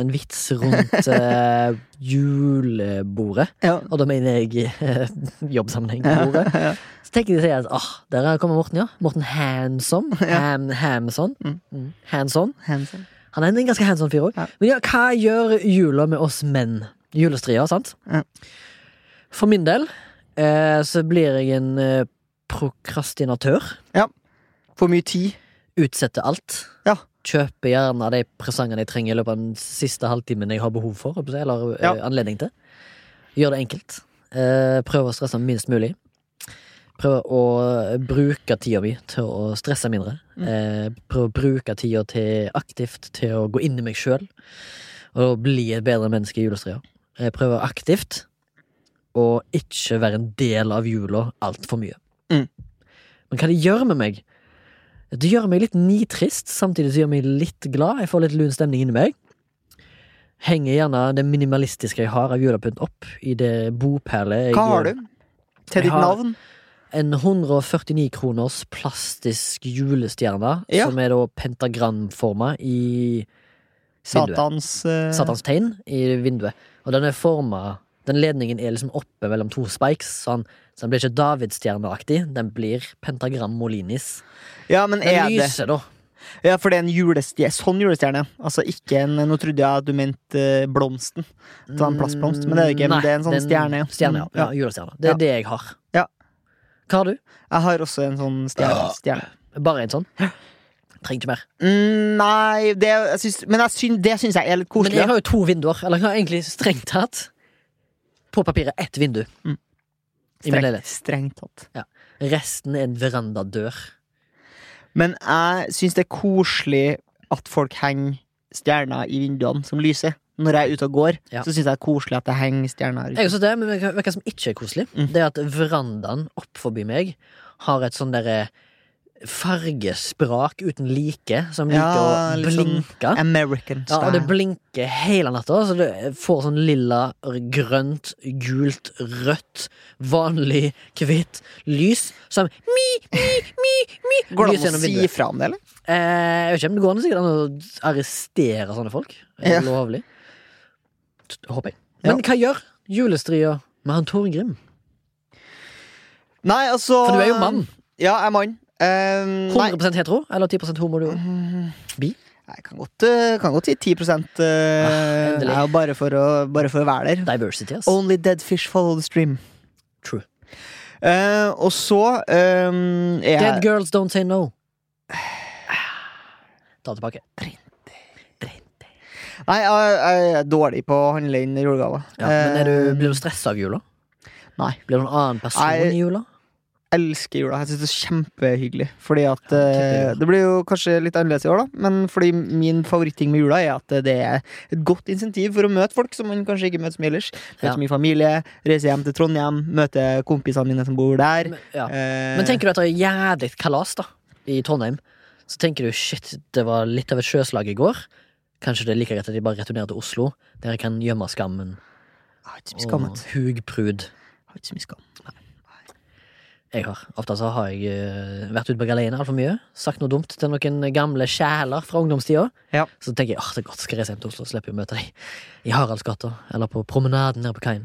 Speaker 2: en vits
Speaker 1: (laughs)
Speaker 2: rundt eh, julebordet.
Speaker 1: Ja.
Speaker 2: Og da mener jeg eh, (laughs) jobbsammenheng.
Speaker 1: Ja,
Speaker 2: Bordet.
Speaker 1: ja.
Speaker 2: Så tenker de seg at åh, der kommer Morten, ja. Morten
Speaker 1: (laughs)
Speaker 2: Handsome. Ham, Hamson.
Speaker 1: Mm.
Speaker 2: Mm. Hanson.
Speaker 1: Handsome.
Speaker 2: Han er en ganske hands on fyr òg.
Speaker 1: Ja.
Speaker 2: Men ja, hva gjør jula med oss menn? Julestria, sant?
Speaker 1: Ja.
Speaker 2: For min del eh, så blir jeg en eh, prokrastinatør.
Speaker 1: For mye tid.
Speaker 2: Utsetter alt.
Speaker 1: Ja.
Speaker 2: Kjøper gjerne de presangene jeg trenger i løpet av den siste halvtimen jeg har behov for. holdt på å si, Eller eh,
Speaker 1: Ja.
Speaker 2: anledning til. Gjør det enkelt. Eh, prøver å stresse minst mulig. Prøver å bruke tida mi til å stresse mindre.
Speaker 1: Mm.
Speaker 2: Eh, prøver å bruke tida til aktivt til å gå inn i meg sjøl og bli et bedre menneske i julestria. Jeg prøver aktivt å ikke være en del av jula altfor mye.
Speaker 1: Mm.
Speaker 2: Men hva det gjør med meg? Det gjør meg litt nitrist, samtidig som det gjør meg litt glad. Jeg får litt lun stemning inni meg. Henger gjerne det minimalistiske jeg har av julepynt opp i det boperlet. jeg
Speaker 1: Hva har
Speaker 2: gjør.
Speaker 1: du? Til
Speaker 2: Jeg
Speaker 1: ditt
Speaker 2: har-
Speaker 1: navn?
Speaker 2: En 149 kroners plastisk julestjerne,
Speaker 1: Ja.
Speaker 2: som er da pentagramforma i vinduet.
Speaker 1: Satans eh,
Speaker 2: Satans tegn i vinduet. Og den er forma Den ledningen er liksom oppe mellom to spikes, så, han, så den blir ikke davidsstjerneaktig. Den blir pentagram molinis.
Speaker 1: Ja, men
Speaker 2: Den
Speaker 1: er det
Speaker 2: lyser, da.
Speaker 1: Ja, for det er en julestjerne. Sånn julestjerne. Altså ikke en Nå trodde jeg at du mente eh, blomsten. Ta en plastblomst, men det er det ikke.
Speaker 2: Mm, Nei,
Speaker 1: Men det er en
Speaker 2: den-
Speaker 1: sånn stjerne. ja.
Speaker 2: Stjerne, ja.
Speaker 1: Mm,
Speaker 2: ja
Speaker 1: ja.
Speaker 2: julestjerne. Det er
Speaker 1: Ja.
Speaker 2: det jeg har.
Speaker 1: Ja.
Speaker 2: Hva har du?
Speaker 1: Jeg har også en sånn stjerne. stjerne.
Speaker 2: Bare en sånn? Trenger ikke mer.
Speaker 1: Mm, nei, det, jeg syns, men jeg syns, det syns jeg er litt
Speaker 2: Men
Speaker 1: koselig.
Speaker 2: jeg
Speaker 1: da.
Speaker 2: har jo to vinduer. Eller jeg har egentlig strengt tatt på papiret ett vindu. I
Speaker 1: Mm.
Speaker 2: min
Speaker 1: Strengt,
Speaker 2: leilighet.
Speaker 1: strengt tatt.
Speaker 2: Resten er en verandadør.
Speaker 1: Men jeg syns det er koselig at folk henger stjerner i vinduene som lyser. Når jeg er ute og går,
Speaker 2: Ja.
Speaker 1: så syns jeg det er koselig at det henger stjerner. rundt.
Speaker 2: Jeg synes det, men vet du hva som ikke er koselig?
Speaker 1: Mm.
Speaker 2: Det er at verandaen opp forbi meg har et sånn derre fargesprak uten like, som liker
Speaker 1: Ja,
Speaker 2: å
Speaker 1: litt sånn
Speaker 2: blinke.
Speaker 1: American
Speaker 2: ja, og det
Speaker 1: style.
Speaker 2: blinker hele natta, så du får sånn lilla, grønt, gult, rødt, vanlig, hvitt lys som mi, mi, mi, mi
Speaker 1: Går det
Speaker 2: lyser
Speaker 1: an å
Speaker 2: gjennom
Speaker 1: si
Speaker 2: vinduet.
Speaker 1: fra om det, eller?
Speaker 2: Eh, jeg vet ikke, men det går an sikkert an å arrestere sånne folk.
Speaker 1: Ja.
Speaker 2: Ja. Lovlig. T- Håper jeg. Men hva gjør julestria med han Torgrim?
Speaker 1: Nei, altså
Speaker 2: For du er jo mann.
Speaker 1: Ja, jeg er mann. Ehm, nei.
Speaker 2: 100 hetero, eller 10 homo du òg?
Speaker 1: Jeg kan godt, eh, kan godt si 10 uh,
Speaker 2: Ah, endelig.
Speaker 1: er jo bare for, å, bare for å være der.
Speaker 2: Diversity, ass.
Speaker 1: Only dead fish follow the stream.
Speaker 2: True.
Speaker 1: Eh, og så ehm, er
Speaker 2: Dead
Speaker 1: jeg
Speaker 2: girls don't say no. Ta tilbake.
Speaker 1: Nei, jeg, jeg er dårlig på å handle inn julegaver.
Speaker 2: Ja, men er
Speaker 1: Eh,
Speaker 2: du, blir du stressa av jula?
Speaker 1: Nei.
Speaker 2: Blir du en annen person
Speaker 1: Nei.
Speaker 2: i jula?
Speaker 1: elsker jula. Jeg syns det er kjempehyggelig. Fordi at
Speaker 2: Ja, tipper
Speaker 1: eh,
Speaker 2: jula.
Speaker 1: Det blir jo kanskje litt annerledes i år, da. Men fordi min favoritting med jula er at det er et godt insentiv for å møte folk som man kanskje ikke møter så mye ellers. Møte
Speaker 2: Ja.
Speaker 1: min familie, reise hjem til Trondheim, møte kompisene mine som bor der.
Speaker 2: Men, ja.
Speaker 1: Eh,
Speaker 2: men tenker du at det er jævlig kalas da i Trondheim, så tenker du shit, det var litt av et sjøslag i går. Kanskje det er like greit at de bare returnerer til Oslo, der jeg kan gjemme skammen
Speaker 1: Jeg Eh, har ikke så mye skam.
Speaker 2: og
Speaker 1: vet du.
Speaker 2: hugprud
Speaker 1: Jeg har ikke så mye skam.
Speaker 2: jeg har. Ofte så har jeg eh, vært ute på galeien altfor mye, sagt noe dumt til noen gamle sjeler fra ungdomstida.
Speaker 1: Ja.
Speaker 2: Så tenker jeg åh, det er godt skal reise hjem til Oslo og slippe å møte dem i Haraldsgata eller på promenaden nede på kaien.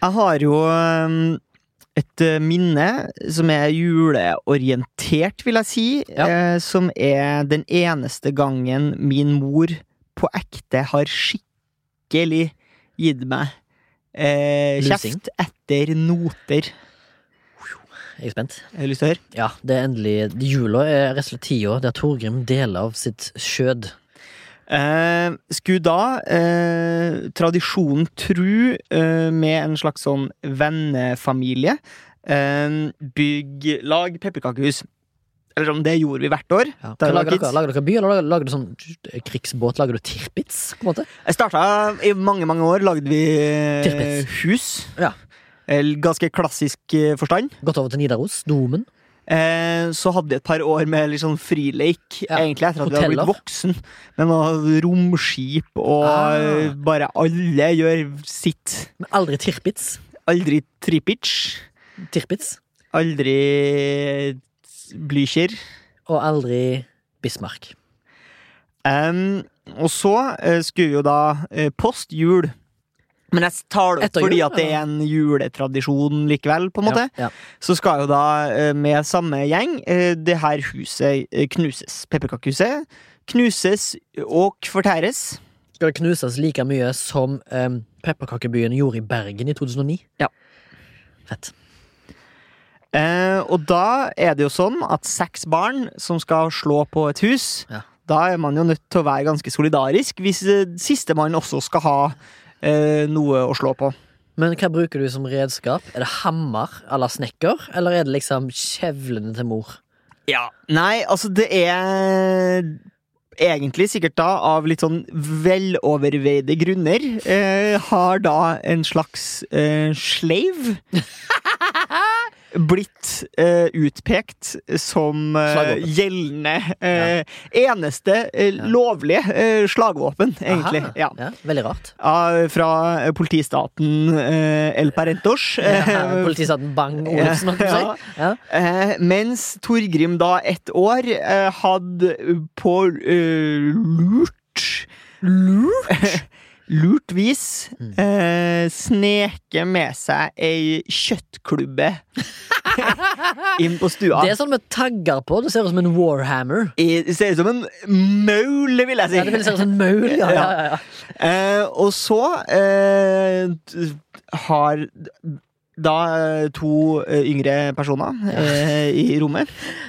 Speaker 1: Jeg har jo øhm, et øh, minne som er juleorientert, vil jeg si. eh, Som er den eneste gangen min mor på ekte har skikkelig gitt meg eh,
Speaker 2: Lusing.
Speaker 1: kjeft etter noter.
Speaker 2: Jeg er spent.
Speaker 1: Har du lyst til å høre?
Speaker 2: Ja, det er endelig Jula er rett og slett tida der Torgrim deler av sitt skjød.
Speaker 1: Eh, skulle da, eh, tradisjonen tru, eh, med en slags sånn vennefamilie, eh, bygge lag pepperkakehus. Eller sånn, det gjorde vi hvert år.
Speaker 2: Ja.
Speaker 1: Det
Speaker 2: Hva
Speaker 1: er jo
Speaker 2: Lager,
Speaker 1: kids.
Speaker 2: dere, lager dere by, eller lager, lager du sånn krigsbåt? Lager du tirpitz? på en måte?
Speaker 1: Jeg starta I mange, mange år lagde vi eh,
Speaker 2: Tirpitz.
Speaker 1: hus.
Speaker 2: Ja.
Speaker 1: Eller Ganske klassisk eh, forstand.
Speaker 2: Gått over til Nidaros? Domen?
Speaker 1: Eh, så hadde vi et par år med litt sånn frileik,
Speaker 2: Ja,
Speaker 1: egentlig etter at vi hadde
Speaker 2: hoteller.
Speaker 1: blitt voksen. Med noe romskip og eh,
Speaker 2: Ah.
Speaker 1: bare alle gjør sitt.
Speaker 2: Men aldri tirpitz?
Speaker 1: Aldri tripitch.
Speaker 2: Tirpitz?
Speaker 1: Aldri Blykjer.
Speaker 2: Og aldri Bismarck.
Speaker 1: Em, og så eh, skulle vi jo da eh, post jul. Men jeg tar det
Speaker 2: Etter
Speaker 1: opp fordi
Speaker 2: jul,
Speaker 1: at det er en juletradisjon likevel, på en måte.
Speaker 2: Ja, ja.
Speaker 1: Så skal jo da, eh, med samme gjeng, eh, det her huset eh, knuses. Pepperkakehuset knuses og fortæres.
Speaker 2: Skal det knuses like mye som um, pepperkakebyen gjorde i Bergen i 2009?
Speaker 1: Ja.
Speaker 2: Fett.
Speaker 1: Eh, og da er det jo sånn at seks barn som skal slå på et hus,
Speaker 2: Ja.
Speaker 1: da er man jo nødt til å være ganske solidarisk hvis eh, sistemann også skal ha eh, noe å slå på.
Speaker 2: Men hva bruker du som redskap? Er det hammer à la snekker, eller er det liksom kjevlene til mor?
Speaker 1: Ja. Nei, altså det er egentlig sikkert da av litt sånn veloverveide grunner eh, har da en slags eh,
Speaker 2: (laughs)
Speaker 1: sleiv blitt eh, utpekt som eh,
Speaker 2: Slagvåpen.
Speaker 1: gjeldende eh, eneste eh, lovlige eh, slagvåpen, egentlig.
Speaker 2: Aha.
Speaker 1: Ja.
Speaker 2: Ja, veldig rart.
Speaker 1: (laughs) Ja, fra eh, politistaten eh, El Parentos. eh,
Speaker 2: Politistaten Bang Olufsen, holdt jeg på å si. Ja.
Speaker 1: Eh, mens Torgrim da et år eh, hadde på eh, lurt Lurt? (laughs) lurt vis
Speaker 2: Mm.
Speaker 1: eh, sneke med seg ei kjøttklubbe
Speaker 2: (laughs)
Speaker 1: inn på stua.
Speaker 2: Det er sånn med tagger på. Det ser ut som en warhammer.
Speaker 1: I- Det ser ut som en maul, vil jeg si.
Speaker 2: Ja, det vil se ut som en maul, ja. ja, ja, ja.
Speaker 1: Eh, og så eh, t- har da eh, to eh, yngre personer eh, i rommet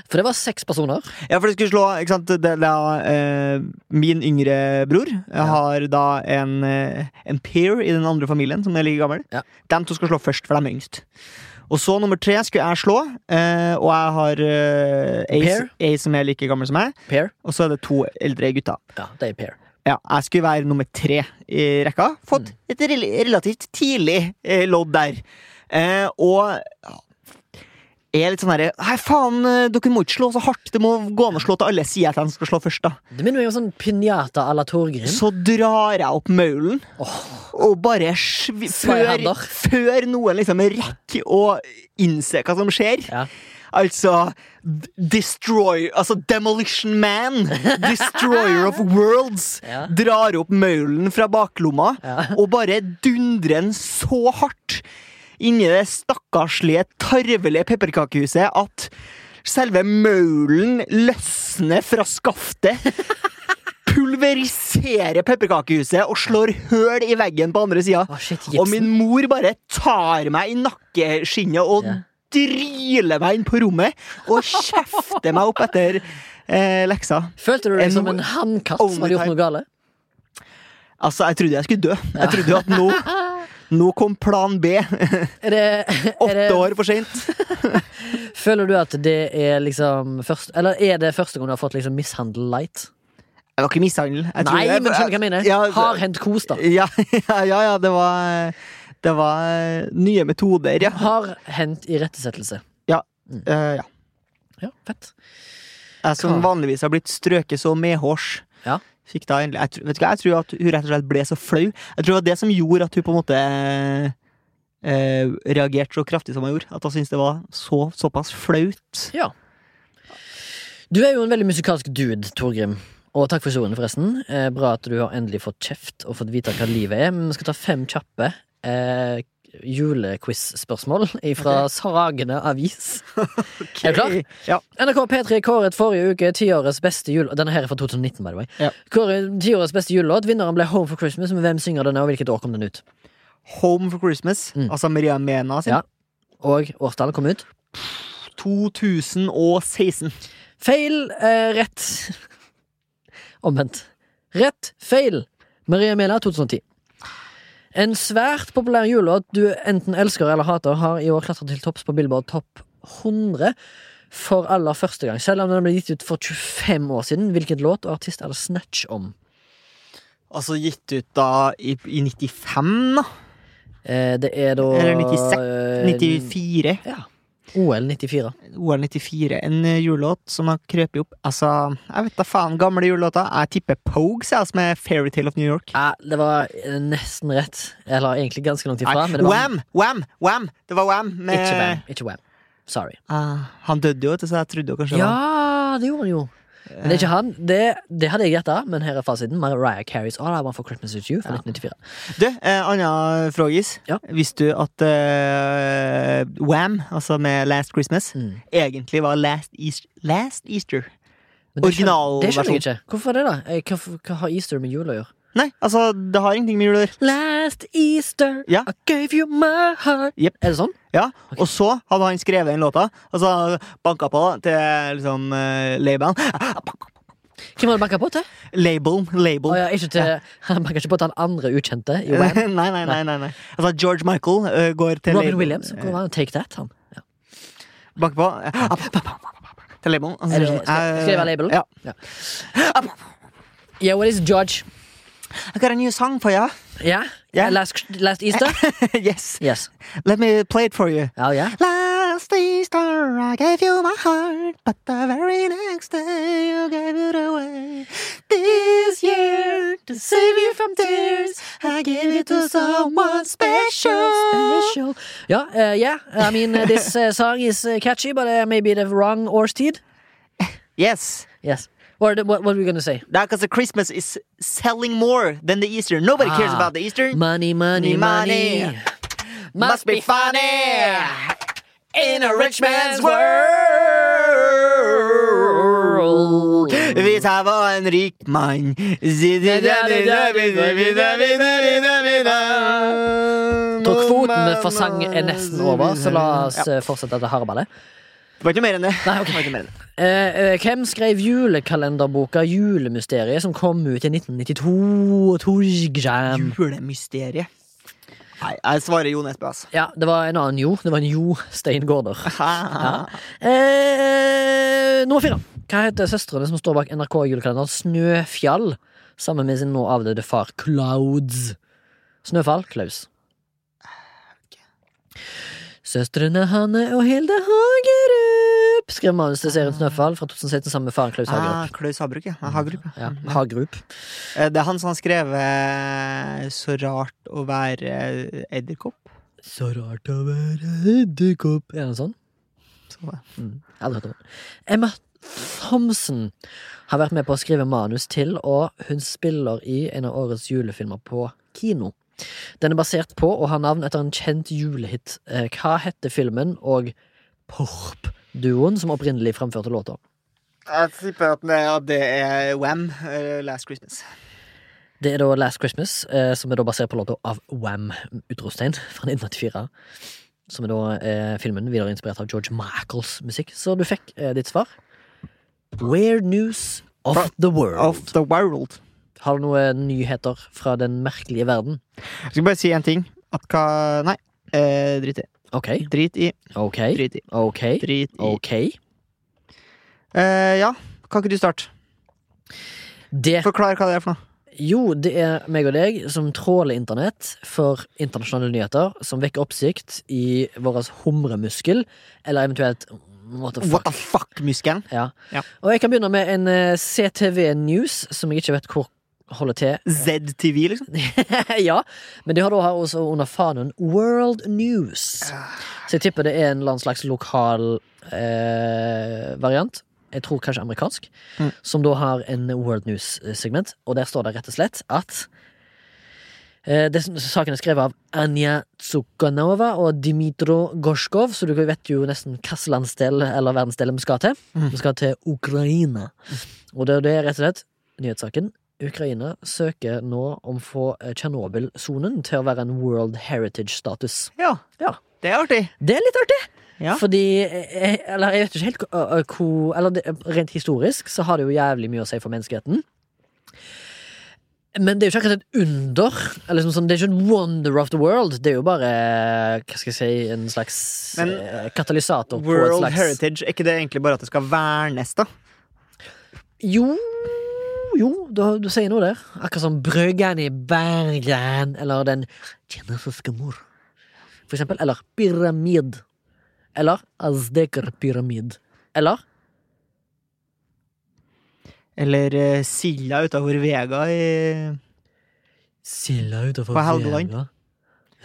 Speaker 2: For det var seks personer.
Speaker 1: Ja, for det skulle slå ikke sant? Det, det er, eh, Min yngre bror eh, har da en, eh, en peer i den andre familien som er like gammel.
Speaker 2: Ja.
Speaker 1: De to skal slå først, for de er yngst. Og så nummer tre skulle jeg slå, eh, og jeg har eh, ei,
Speaker 2: Peer?
Speaker 1: ei som er like gammel som meg.
Speaker 2: Pair.
Speaker 1: Og så er det to eldre gutter.
Speaker 2: Ja, det er pair.
Speaker 1: Ja, jeg skulle være nummer tre i rekka. Fått et rel relativt tidlig eh, lodd der. Eh, og ja, er litt sånn herre Hei, faen, eh, dere må ikke slå så hardt. Det må gå an å slå til alle sider at han skal slå først, da.
Speaker 2: Det minner meg om sånn pinjata à la Torgrim.
Speaker 1: Så drar jeg opp maulen og bare svi-
Speaker 2: Sveier
Speaker 1: før,
Speaker 2: hender.
Speaker 1: før noen liksom rekker å innse hva som skjer.
Speaker 2: Ja.
Speaker 1: Altså d- Destroy Altså Demolition Man, Destroyer of Worlds,
Speaker 2: (laughs) Ja.
Speaker 1: drar opp maulen fra baklomma
Speaker 2: Ja.
Speaker 1: og bare dundrer den så hardt inni det stakkarslige, tarvelige pepperkakehuset at selve maulen løsner fra
Speaker 2: (laughs)
Speaker 1: skaftet. Pulveriserer pepperkakehuset og slår høl i veggen på andre sida.
Speaker 2: Å, shit,
Speaker 1: Og
Speaker 2: Gibson.
Speaker 1: min mor bare tar meg i nakkeskinnet og
Speaker 2: Ja.
Speaker 1: dryler meg inn på rommet og kjefter meg opp etter eh, leksa.
Speaker 2: Følte du deg
Speaker 1: En-
Speaker 2: som en hannkatt som
Speaker 1: Only
Speaker 2: hadde gjort noe
Speaker 1: time.
Speaker 2: gale?
Speaker 1: Altså, jeg trodde jeg skulle dø. Jeg trodde jo at nå,
Speaker 2: (laughs)
Speaker 1: nå kom plan B.
Speaker 2: Er det, er
Speaker 1: Åtte
Speaker 2: det,
Speaker 1: år for seint.
Speaker 2: føler du at det er liksom først, Eller er det første gang du har fått liksom mishandle light?
Speaker 1: Det var ikke mishandel. Jeg tror
Speaker 2: Nei,
Speaker 1: jeg-
Speaker 2: men skjønner du hva jeg mener?
Speaker 1: Ja,
Speaker 2: Har hendt kos, da.
Speaker 1: ja, ja, ja, ja, det var Det var eh, nye metoder, ja.
Speaker 2: Har hendt irettesettelse.
Speaker 1: Eh, ja.
Speaker 2: Ja, fett.
Speaker 1: Jeg som
Speaker 2: Hva?
Speaker 1: vanligvis har blitt strøket så medhårs.
Speaker 2: Ja.
Speaker 1: Fikk da endelig, jeg, tr- vet du hva, jeg tror at hun rett og slett ble så flau. Jeg tror det var det som gjorde at hun på en måte eh, reagerte så kraftig som hun gjorde. At hun syntes det var så, såpass flaut.
Speaker 2: Ja. Du er jo en veldig musikalsk dude, Torgrim. Og takk for historien, forresten. Eh, bra at du har endelig fått kjeft og fått vite hva livet er. Men vi skal ta fem kjappe eh, julequiz-spørsmål fra Sagene avis. Er du klar?
Speaker 1: (laughs) Ja.
Speaker 2: NRK P3 kåret forrige uke tiårets beste jul... Denne her er fra 2019, by the way.
Speaker 1: Ja.
Speaker 2: Kåret tiårets beste julelåt. Vinneren ble Home for Christmas. Men hvem synger denne, og hvilket år kom den ut?
Speaker 1: Home for Christmas,
Speaker 2: Mm.
Speaker 1: altså Maria Mena sin.
Speaker 2: Ja. Og årstallet kom ut.
Speaker 1: 2016.
Speaker 2: Feil. Eh, rett. Omvendt. Rett feil! Maria Mela 2010. En svært populær julelåt du enten elsker eller hater, har i år klatret til topps på Billboard Topp 100 for aller første gang, selv om den ble gitt ut for 25 år siden. Hvilken låt og artist er det snatch om?
Speaker 1: Altså gitt ut da i, i 95, da?
Speaker 2: Eh, det er da
Speaker 1: Eller 96,
Speaker 2: eh,
Speaker 1: 94.
Speaker 2: Ja. OL 94.
Speaker 1: OL 94. En eh, julelåt som har krøpet opp. Altså, jeg vet da faen. Gamle julelåter. Jeg tipper Pogues, jeg, altså, som er Fairytale of New York.
Speaker 2: Ja, det var eh, nesten rett. Eller egentlig ganske langt ifra. Men
Speaker 1: Nei,
Speaker 2: det var
Speaker 1: Wham! Wham! Wham! Det var Wham! Med,
Speaker 2: Ikke Wham. Ikke wham. Sorry.
Speaker 1: Ah, han døde jo, vet du, så jeg trodde jo kanskje det var
Speaker 2: Ja, det gjorde han jo. Men det er ikke han. Det, det hadde jeg gjetta, men her er fasiten. Mariah Carries All I Want for Christmas Is You fra
Speaker 1: Ja.
Speaker 2: 1994.
Speaker 1: Du, eh, anna frågis.
Speaker 2: Ja.
Speaker 1: Visste du at eh, Wham, altså med Last Christmas,
Speaker 2: Mm.
Speaker 1: egentlig var Last, East, last Easter?
Speaker 2: Men det skjønner-
Speaker 1: Originalversjon.
Speaker 2: Det skjønner jeg ikke. Hvorfor er det, da? Eh, Hva, hva har Easter med jul å gjøre?
Speaker 1: Nei, altså, det har ingenting med jul å gjøre.
Speaker 2: Last Easter,
Speaker 1: Ja.
Speaker 2: I gave you my heart.
Speaker 1: Jep.
Speaker 2: Er det sånn?
Speaker 1: Ja, Og så hadde han skrevet den låta. Altså banka på til liksom eh, labelen.
Speaker 2: Hvem har du banka på til?
Speaker 1: Label, label.
Speaker 2: Å Oh, ja, ikke til (laughs) Han banka ikke på til han andre ukjente i (laughs) Wham.
Speaker 1: (laughs) nei, nei, nei, nei, nei. Altså George Michael eh, går til
Speaker 2: Robin
Speaker 1: label-
Speaker 2: Williams. Hvor var han? Take That, han. Ja.
Speaker 1: Banker på. eh, Til labelen.
Speaker 2: Ah. Er det sånn? Skal- skal det være labelen?
Speaker 1: Ja.
Speaker 2: Yeah, what is George?
Speaker 1: I got a new song for you.
Speaker 2: Yeah?
Speaker 1: Yeah.
Speaker 2: Last, last (laughs) Easter?
Speaker 1: (laughs) yes.
Speaker 2: yes.
Speaker 1: Let me play it for you.
Speaker 2: Oh, yeah?
Speaker 1: Last Easter I gave you my heart, but the very next day you gave it away. This year, to save you from tears, I gave it to someone special.
Speaker 2: Special. Ja, eh, yeah. I mean, eh, this eh, song is eh, catchy, but eh, maybe the wrong Orsted.
Speaker 1: Yes,
Speaker 2: Yes. Or the, what, what were we gonna say?
Speaker 1: that because the Christmas is selling more than the Easter. Nobody cares
Speaker 2: Ah.
Speaker 1: about the Easter.
Speaker 2: Money, money, money.
Speaker 1: Money. Must be funny in a rich man's world. Vi tar på en rik mann.
Speaker 2: Da
Speaker 1: Tok
Speaker 2: kvoten for sang er nesten over, så la oss eh, fortsette dette hareballet.
Speaker 1: Det var ikke mer enn det.
Speaker 2: Nei, ok.
Speaker 1: Det var ikke mer enn det.
Speaker 2: Eh, eh, hvem skrev julekalenderboka Julemysteriet, som kom ut i 1992? Torgjam.
Speaker 1: Julemysteriet. Nei, jeg svarer Jo Nesbø, altså.
Speaker 2: Ja, det var en annen Jo. Det var en Jo Stein Gaarder.
Speaker 1: Ha-ha.
Speaker 2: Ja. Eh, nummer fire. Hva heter søstrene som står bak NRK-julekalenderen Snøfjall, sammen med sin nå avdøde far Clouds? Snøfall Klaus. Søstrene Hanne og Hilde Hagerup skrev manus til serien Snøfall fra 2016 sammen med faren Klaus
Speaker 1: Ah,
Speaker 2: Hagerup.
Speaker 1: Klaus Habruk, ja. Hagerup,
Speaker 2: Ja, Hagerup.
Speaker 1: Eh, Det er han som har skrevet 'Så rart å være eh, edderkopp'.
Speaker 2: Så rart å være edderkopp. Er det sånn?
Speaker 1: Så det.
Speaker 2: Aldri hørt om det. Emma Thompson har vært med på å skrive manus til, og hun spiller i en av årets julefilmer på kino. Den er basert på og har navn etter en kjent julehit. Eh, Hva heter filmen og Porp-duoen som opprinnelig fremførte låta?
Speaker 1: Jeg tipper at det, at det er Wham! eh, Last Christmas.
Speaker 2: Det er da Last Christmas, eh, som er da basert på låta av Wham! Utropstegn fra 1984. Som er da eh, filmen videre inspirert av George Michaels musikk. Så du fikk eh, ditt svar. Weird news of
Speaker 1: Fra-
Speaker 2: the world.
Speaker 1: Of the world.
Speaker 2: Har du noen nyheter fra den merkelige verden?
Speaker 1: Jeg skal bare si én ting. At hva Nei. Eh, drit i.
Speaker 2: Ok,
Speaker 1: Drit i.
Speaker 2: ok,
Speaker 1: Drit i.
Speaker 2: ok,
Speaker 1: Drit i.
Speaker 2: ok.
Speaker 1: Eh, ja, kan ikke du starte?
Speaker 2: Det,
Speaker 1: Forklar hva det er for noe.
Speaker 2: jo, det er meg og deg som tråler internett for internasjonale nyheter som vekker oppsikt i vår humremuskel, eller eventuelt what the fuck.
Speaker 1: What the fuck-muskelen?
Speaker 2: Ja.
Speaker 1: Ja.
Speaker 2: Og jeg kan begynne med en eh, CTV News, som jeg ikke vet hvor holder til (laughs)
Speaker 1: ZTV, liksom?
Speaker 2: ja, men de har da her også under fanen World News. Så jeg tipper det er en eller annen slags lokal eh, variant. Jeg tror kanskje amerikansk.
Speaker 1: Mm.
Speaker 2: Som da har en World News-segment, og der står det rett og slett at eh, det, Saken er skrevet av Anja Tsukhanova og Dimitro Gorskov, så du vet jo nesten hvilken landsdel eller verdensdel vi skal til.
Speaker 1: Mm.
Speaker 2: Vi skal til Ukraina. Og det, det er rett og slett nyhetssaken. Ukraina søker nå om å få eh, Tsjernobyl-sonen til å være en World Heritage-status.
Speaker 1: Ja.
Speaker 2: Ja.
Speaker 1: Det er artig.
Speaker 2: Det er litt artig!
Speaker 1: Ja.
Speaker 2: Fordi eh, Eller jeg vet ikke helt hvor- eh, hvor Eller det- rent historisk så har det jo jævlig mye å si for menneskeheten. Men det er jo ikke akkurat et under. Eller liksom sånn, det er ikke en wonder of the world. Det er jo bare eh, hva skal jeg si, en slags
Speaker 1: Men-
Speaker 2: eh, katalysator på et
Speaker 1: World
Speaker 2: slags
Speaker 1: Heritage, er ikke det egentlig bare at det skal vernes, da?
Speaker 2: Jo, jo, du, du sier noe der. Akkurat som Bryggen i Bergen, eller den kinesiske mor, for eksempel. Eller Pyramid. Eller Azdeker Pyramid. Eller
Speaker 1: Eller eh, silda utafor Vega i
Speaker 2: Silda utenfor
Speaker 1: På Helgeland.
Speaker 2: Vega.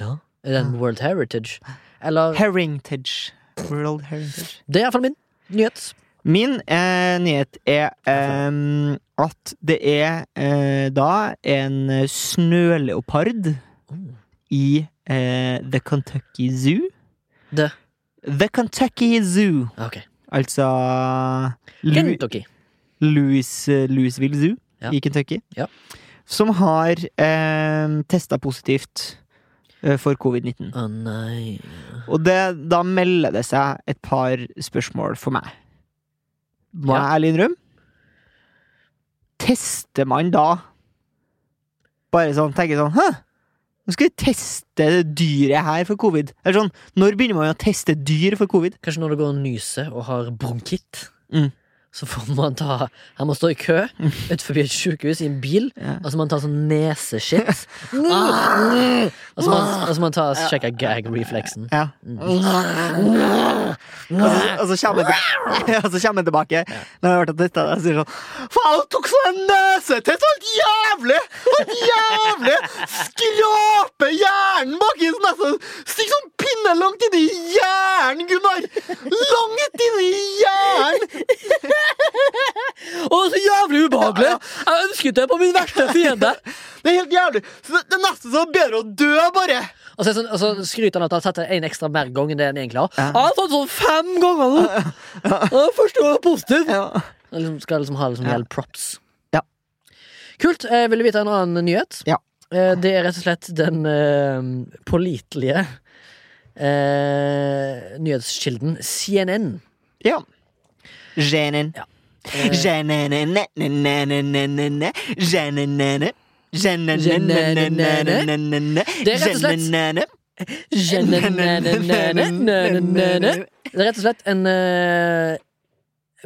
Speaker 2: Ja. Er den World Heritage? Eller
Speaker 1: Heritage. World Heritage.
Speaker 2: Det er iallfall min nyhet.
Speaker 1: Min eh, nyhet er ehm, at det er eh, da en snøleopard i eh, The Kentucky Zoo.
Speaker 2: Det.
Speaker 1: The Kentucky Zoo,
Speaker 2: Ok.
Speaker 1: altså Lu
Speaker 2: Kentucky.
Speaker 1: Louis, eh, Louisville Zoo
Speaker 2: Ja.
Speaker 1: i Kentucky,
Speaker 2: Ja.
Speaker 1: som har eh, testa positivt eh, for covid-19.
Speaker 2: Å nei
Speaker 1: Og det, da melder det seg et par spørsmål for meg. Må
Speaker 2: Ja.
Speaker 1: jeg ærlig innrømme? Tester man da Bare sånn, tenker sånn Hæ? Nå skal vi teste det dyret her for covid. Eller sånn, Når begynner man å teste dyr for covid?
Speaker 2: Kanskje når det går og nyser og har bronkitt,
Speaker 1: Mm.
Speaker 2: så får man ta Han må stå i kø utenfor et sykehus i en bil,
Speaker 1: Ja.
Speaker 2: og så må han ta sånn (laughs) neseshit. Ah. og så må han, og så må han ta og sjekke gag-refleksen.
Speaker 1: Ja. Og så, og så kommer han (laughs) til- og så kommer han tilbake når han har vært og testa det, og sier sånn Faen, tok sånn en nesetest! Helt jævlig! Helt jævlig! Skrape hjernen baki i nesa! Stikk sånn pinne langt inni hjernen, Gunnar! Langt inni hjernen!
Speaker 2: Å, så jævlig ubehagelig! Jeg ønsket det på min verste fiende!
Speaker 1: Det er helt jævlig! Så det- det er nesten så bedre å dø, bare!
Speaker 2: Og så, er det sånn, og så skryter han at han har tatt det en ekstra mer gang enn det han egentlig har.
Speaker 1: Ja.
Speaker 2: Han har tatt sånn fem ganger nå! Ja, Første gang er positiv!
Speaker 1: Ja.
Speaker 2: Han liksom, skal liksom ha liksom
Speaker 1: Ja.
Speaker 2: hele props.
Speaker 1: Ja.
Speaker 2: Kult. Eh, vil du vite en annen nyhet?
Speaker 1: Ja.
Speaker 2: Eh, det er rett og slett den eh, pålitelige eh, nyhetskilden CNN.
Speaker 1: (laughs) ja. Jenin.
Speaker 2: Eh,
Speaker 1: Det
Speaker 2: er rett og slett- det er rett og slett en eh,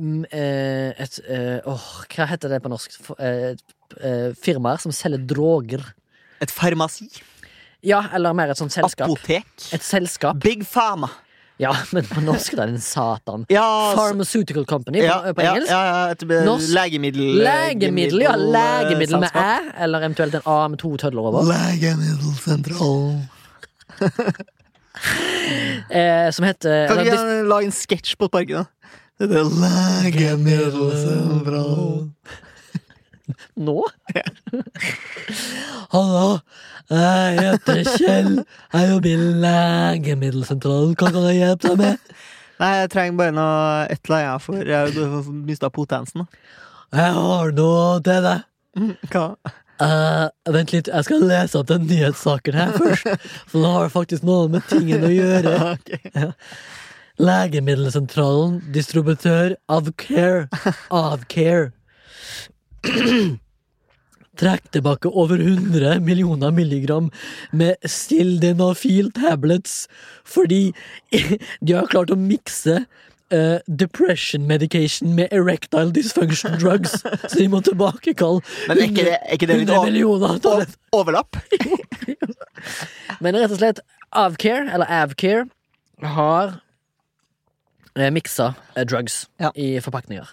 Speaker 2: mm, eh, et, eh, åh, Hva heter det på norsk? F- eh, et, eh, firmaer som selger droger.
Speaker 1: Et farmasi.
Speaker 2: Ja, eller mer et sånt selskap.
Speaker 1: Apotek.
Speaker 2: Et selskap.
Speaker 1: Big Pharma.
Speaker 2: Ja, (laughs) men på norsk det er det en satan.
Speaker 1: Ja,
Speaker 2: Pharmaceutical Company
Speaker 1: ja,
Speaker 2: på, på
Speaker 1: ja,
Speaker 2: engelsk.
Speaker 1: Ja, ja, et be-
Speaker 2: Norsk.
Speaker 1: legemiddel...
Speaker 2: Legemiddel, ja. Legemiddel med
Speaker 1: selskap.
Speaker 2: æ, eller eventuelt en A med to tødler over.
Speaker 1: Legemiddelsentral.
Speaker 2: Eh, som heter
Speaker 1: Kan
Speaker 2: eller,
Speaker 1: ikke
Speaker 2: dis-
Speaker 1: jeg lage en sketsj på parken, da? Det heter Legemiddelsentral.
Speaker 2: Nå?
Speaker 1: (laughs)
Speaker 2: Hallo, jeg heter Kjell. Jeg jobber i Legemiddelsentralen. Hva kan jeg hjelpe deg med?
Speaker 1: Nei, jeg trenger bare noe et eller annet, for jeg har mista potensen. da.
Speaker 2: Jeg har noe til deg.
Speaker 1: Mm, (laughs) Hva?
Speaker 2: Eh, vent litt, jeg skal lese opp den nyhetssaken her først. For det har faktisk noe med tingen å gjøre.
Speaker 1: Ok.
Speaker 2: Legemiddelsentralen, distributør av Care. Av Care. Trekk tilbake over 100 millioner milligram med sildenafil tablets fordi de har klart å mikse eh, depression medication med erectile dysfunction drugs. Så de må tilbakekalle
Speaker 1: Men er ikke det, er ikke det litt
Speaker 2: 100
Speaker 1: over,
Speaker 2: millioner tabletter.
Speaker 1: o- overlapp?
Speaker 2: Men rett og slett, Avcare, eller Avcare, har eh, miksa eh, drugs
Speaker 1: Ja.
Speaker 2: i forpakninger.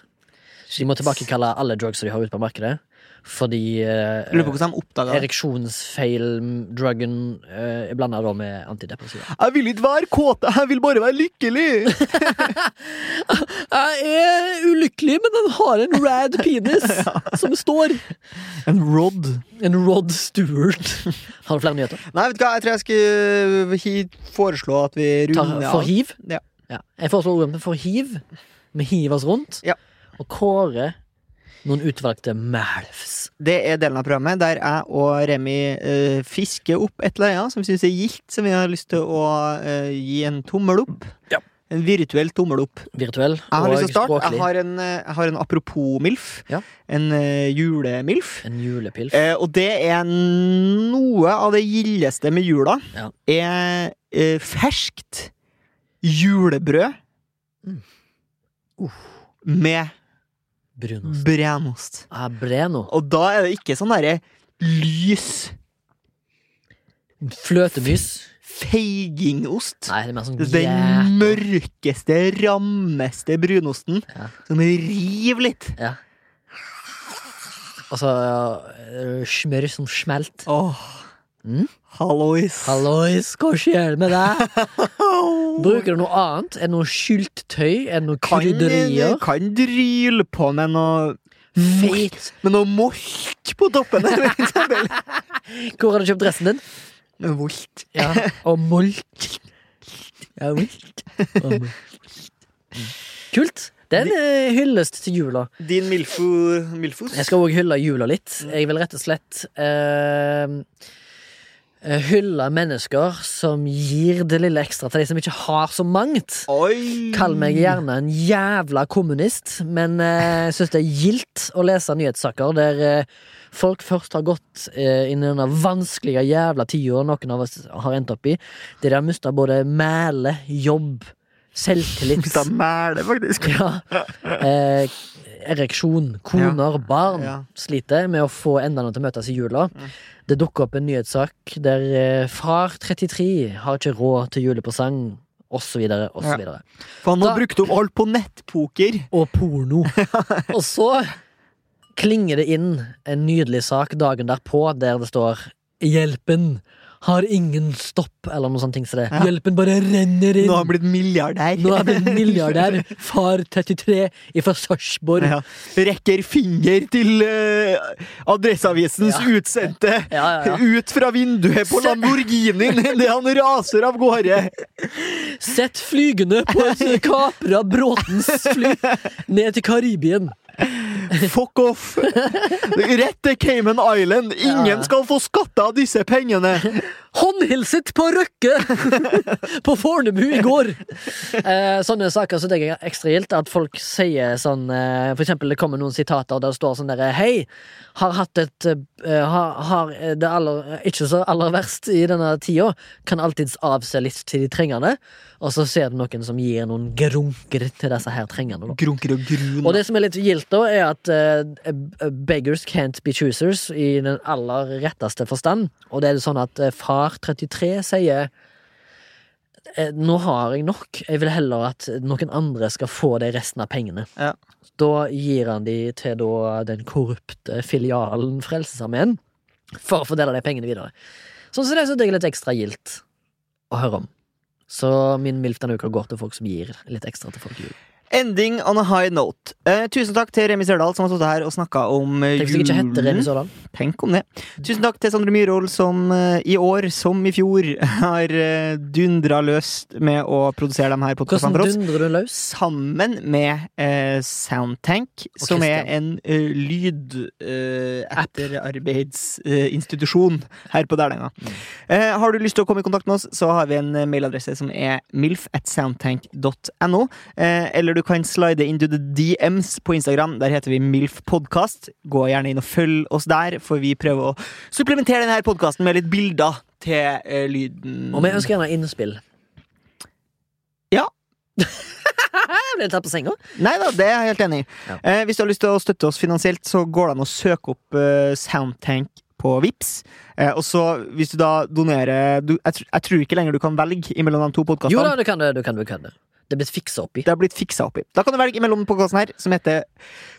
Speaker 2: Så de må tilbakekalle alle drugs som de har ute på markedet, fordi
Speaker 1: Jeg Lurer på
Speaker 2: eh,
Speaker 1: hvordan de oppdaga det.
Speaker 2: ereksjonsfeil-druggen eh, er blanda da med antidepressiva.
Speaker 1: Jeg vil ikke være kåt, jeg vil bare være lykkelig!
Speaker 2: Jeg er ulykkelig, men den har en rad penis (laughs) som står.
Speaker 1: (laughs) En rod.
Speaker 2: En Rod Stewart. Har du flere nyheter?
Speaker 1: Nei, vet du hva, jeg tror jeg skulle hi- foreslå at vi
Speaker 2: Tar,
Speaker 1: runder
Speaker 2: for
Speaker 1: av.
Speaker 2: hiv?
Speaker 1: Ja.
Speaker 2: Jeg foreslår ordet for hiv. Vi hiver oss rundt
Speaker 1: Ja.
Speaker 2: og kårer noen utvalgte malfs.
Speaker 1: Det er delen av programmet der jeg og Remi eh, fisker opp et eller annet som vi syns er gildt, som vi har lyst til å eh, gi en tommel opp.
Speaker 2: Ja.
Speaker 1: En virtuell tommel opp.
Speaker 2: Virtuell
Speaker 1: Jeg har lyst
Speaker 2: og
Speaker 1: til å starte.
Speaker 2: språklig.
Speaker 1: Jeg har en, eh, jeg har en apropos-MILF.
Speaker 2: Ja.
Speaker 1: En eh, jule-MILF.
Speaker 2: En julepilf.
Speaker 1: Eh, og det er noe av det gildeste med jula.
Speaker 2: Ja.
Speaker 1: Er eh, ferskt julebrød
Speaker 2: Mm.
Speaker 1: med
Speaker 2: Brunost.
Speaker 1: brenost.
Speaker 2: Ah, Breno.
Speaker 1: Og da er det ikke sånn derre lys
Speaker 2: Fløtemys.
Speaker 1: feigingost.
Speaker 2: Nei, det er mer sånn
Speaker 1: Den
Speaker 2: jæ-
Speaker 1: mørkeste, rammeste brunosten
Speaker 2: Ja.
Speaker 1: som river litt.
Speaker 2: Ja. Og så eh, smør som smelt.
Speaker 1: Åh.
Speaker 2: Mm.
Speaker 1: Hallois.
Speaker 2: Hallois, hva skjer med deg? Bruker du noe annet? Er det noe syltetøy? Er det noe krydderier?
Speaker 1: Kan, kan dryle på med noe
Speaker 2: Feit.
Speaker 1: Med noe molk på toppen her, for (laughs) eksempel.
Speaker 2: Hvor har du kjøpt dressen din?
Speaker 1: Molk.
Speaker 2: Ja, og molt. Ja, molt. Og molt. Mm. Kult. Det er en eh, hyllest til jula.
Speaker 1: Din milfo, milfos.
Speaker 2: Jeg skal òg hylle jula litt. Jeg vil rett og slett eh, eh, hylle mennesker som gir det lille ekstra til de som ikke har så mangt.
Speaker 1: Oi!
Speaker 2: Kall meg gjerne en jævla kommunist, men eh, jeg syns det er gildt å lese nyhetssaker der eh, folk først har gått eh, inn i denne vanskelige jævla tida noen av oss har endt opp i, der de har mista både mæle, jobb, selvtillit
Speaker 1: Hvis jeg mæler, faktisk.
Speaker 2: (laughs) ja. eh, Ereksjon. Koner, barn
Speaker 1: Ja.
Speaker 2: sliter med å få endene til å møtes i jula. Det dukker opp en nyhetssak der eh, far 33 har ikke råd til julepresang, osv.,
Speaker 1: Ja.
Speaker 2: osv.
Speaker 1: For han
Speaker 2: Da-
Speaker 1: har brukt opp alt på nettpoker.
Speaker 2: og porno. (laughs) og så klinger det inn en nydelig sak dagen derpå der det står 'Hjelpen har ingen stopp', eller noe sånt. ting som det.
Speaker 1: Ja.
Speaker 2: Hjelpen bare renner inn.
Speaker 1: Nå har han blitt milliardær.
Speaker 2: Nå er det en milliardær. Far 33 ifra Sarpsborg.
Speaker 1: (laughs) Ja. Rekker finger til eh, Adresseavisens
Speaker 2: Ja.
Speaker 1: utsendte.
Speaker 2: Ja, ja, ja.
Speaker 1: Ut fra
Speaker 2: (laughs)
Speaker 1: vinduet på Lamborghinien idet han raser av gårde.
Speaker 2: Sett flygende på
Speaker 1: (laughs)
Speaker 2: en kapra Bråtens fly ned til Karibien.
Speaker 1: Fuck off! Rett til Cayman Island.
Speaker 2: Ja.
Speaker 1: Ingen skal få skatte av disse pengene.
Speaker 2: Håndhilset på Røkke! (laughs) på Fornebu i går! Eh, sånne saker som jeg er ekstra gildt, at folk sier sånn eh, For eksempel det kommer noen sitater der det står sånn derre Hei! Har hatt et eh, har, har det aller, ikke så aller verst i denne tida. Kan alltids avse litt til de trengende. Og så ser du noen som gir noen grunker til disse her trengende. Da.
Speaker 1: Grunker og grun.
Speaker 2: Og det som er litt gildt, da, er at eh, beggars can't be choosers i den aller retteste forstand. Og det er sånn at eh, far 33 sier eh, Nå har jeg nok. Jeg vil heller at noen andre skal få de resten av pengene.
Speaker 1: Ja.
Speaker 2: Da gir han de til da, den korrupte filialen Frelsesarmeen for å fordele de pengene videre. Sånn som det synes jeg er litt ekstra gildt å høre om. Så min MILF denne uka går til folk som gir litt ekstra til folk i jul.
Speaker 1: Ending on a high note. Eh, tusen takk til Remi Sørdal som har stått her og snakka om eh,
Speaker 2: Tenk hvis jeg ikke heter Remi Sørdal.
Speaker 1: Tenk om det. Tusen takk til Sondre Myhrvold, som eh, i år, som i fjor, (laughs) har uh, dundra løs med å produsere de her
Speaker 2: Hvordan
Speaker 1: podkastene for oss.
Speaker 2: dundrer du løs?
Speaker 1: Sammen med eh, Soundtank,
Speaker 2: Og
Speaker 1: som er
Speaker 2: Christian.
Speaker 1: en eh, lyd eh, etterarbeidsinstitusjon her på Dælenga. Eh, har du lyst til å komme i kontakt med oss, så har vi en eh, mailadresse som er milf at soundtank.no. Eh, eller du kan slide into the DMs på Instagram. Der heter vi milfpodkast. Gå gjerne inn og følg oss der, for vi prøver å supplementere denne podkasten med litt bilder til eh, lyden.
Speaker 2: Og vi ønsker gjerne innspill.
Speaker 1: Ja.
Speaker 2: Jeg (laughs) ble tatt på senga.
Speaker 1: Nei da, det er jeg helt enig i.
Speaker 2: Ja.
Speaker 1: Eh, hvis du har lyst til å støtte oss finansielt, så går det an å søke opp eh, Soundtank på Vips. Eh, og så, hvis du da donerer du, jeg, tr- jeg tror ikke lenger du kan velge mellom de to
Speaker 2: Jo da,
Speaker 1: podkastene.
Speaker 2: du kan det. Du kan det, du kan det. det er blitt fiksa opp i.
Speaker 1: Det har blitt fiksa opp i. Da kan du velge mellom podkasten her, som heter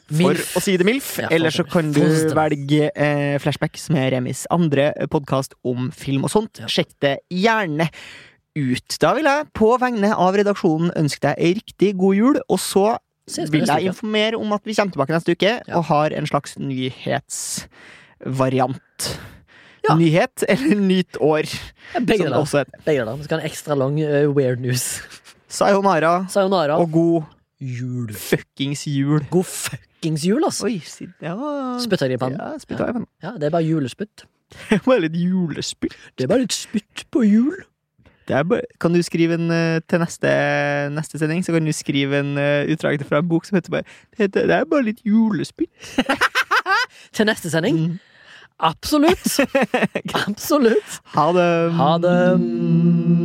Speaker 1: For
Speaker 2: Milf.
Speaker 1: å si det MILF.
Speaker 2: Ja, for
Speaker 1: eller
Speaker 2: å si
Speaker 1: så
Speaker 2: det.
Speaker 1: kan du
Speaker 2: For å si det.
Speaker 1: velge eh, Flashback, som er Remis andre podkast om film og sånt.
Speaker 2: Ja.
Speaker 1: Sjekk det gjerne ut. Da vil jeg på vegne av redaksjonen ønske deg ei riktig god jul, og så
Speaker 2: Ses vi
Speaker 1: vil
Speaker 2: neste
Speaker 1: jeg
Speaker 2: uke.
Speaker 1: informere om at vi kommer tilbake neste uke
Speaker 2: Ja.
Speaker 1: og har en slags nyhetsvariant.
Speaker 2: Ja.
Speaker 1: Nyhet eller nytt år,
Speaker 2: Begge
Speaker 1: som det
Speaker 2: deler.
Speaker 1: Sånn også heter.
Speaker 2: Begge deler. Vi skal ha en ekstra lang eh, weird news. (laughs)
Speaker 1: Sayonara
Speaker 2: Sayonara.
Speaker 1: og god
Speaker 2: jul.
Speaker 1: fuckings jul.
Speaker 2: God fuckings jul, altså.
Speaker 1: Oi, si- ja
Speaker 2: Spytta jeg det i pannen?
Speaker 1: Ja, spytta (laughs) i pannen.
Speaker 2: Ja, det er bare julespytt.
Speaker 1: Det var litt julespytt.
Speaker 2: Det er bare litt spytt på jul.
Speaker 1: Det er bare, kan du skrive en eh, til neste, neste sending, så kan du skrive en eh, utdrag fra en bok som heter bare Det, heter, det er bare litt julespytt.
Speaker 2: Til neste sending?
Speaker 1: Mm.
Speaker 2: Absolutt! Absolutt!
Speaker 1: (laughs) Ha det.
Speaker 2: Ha det.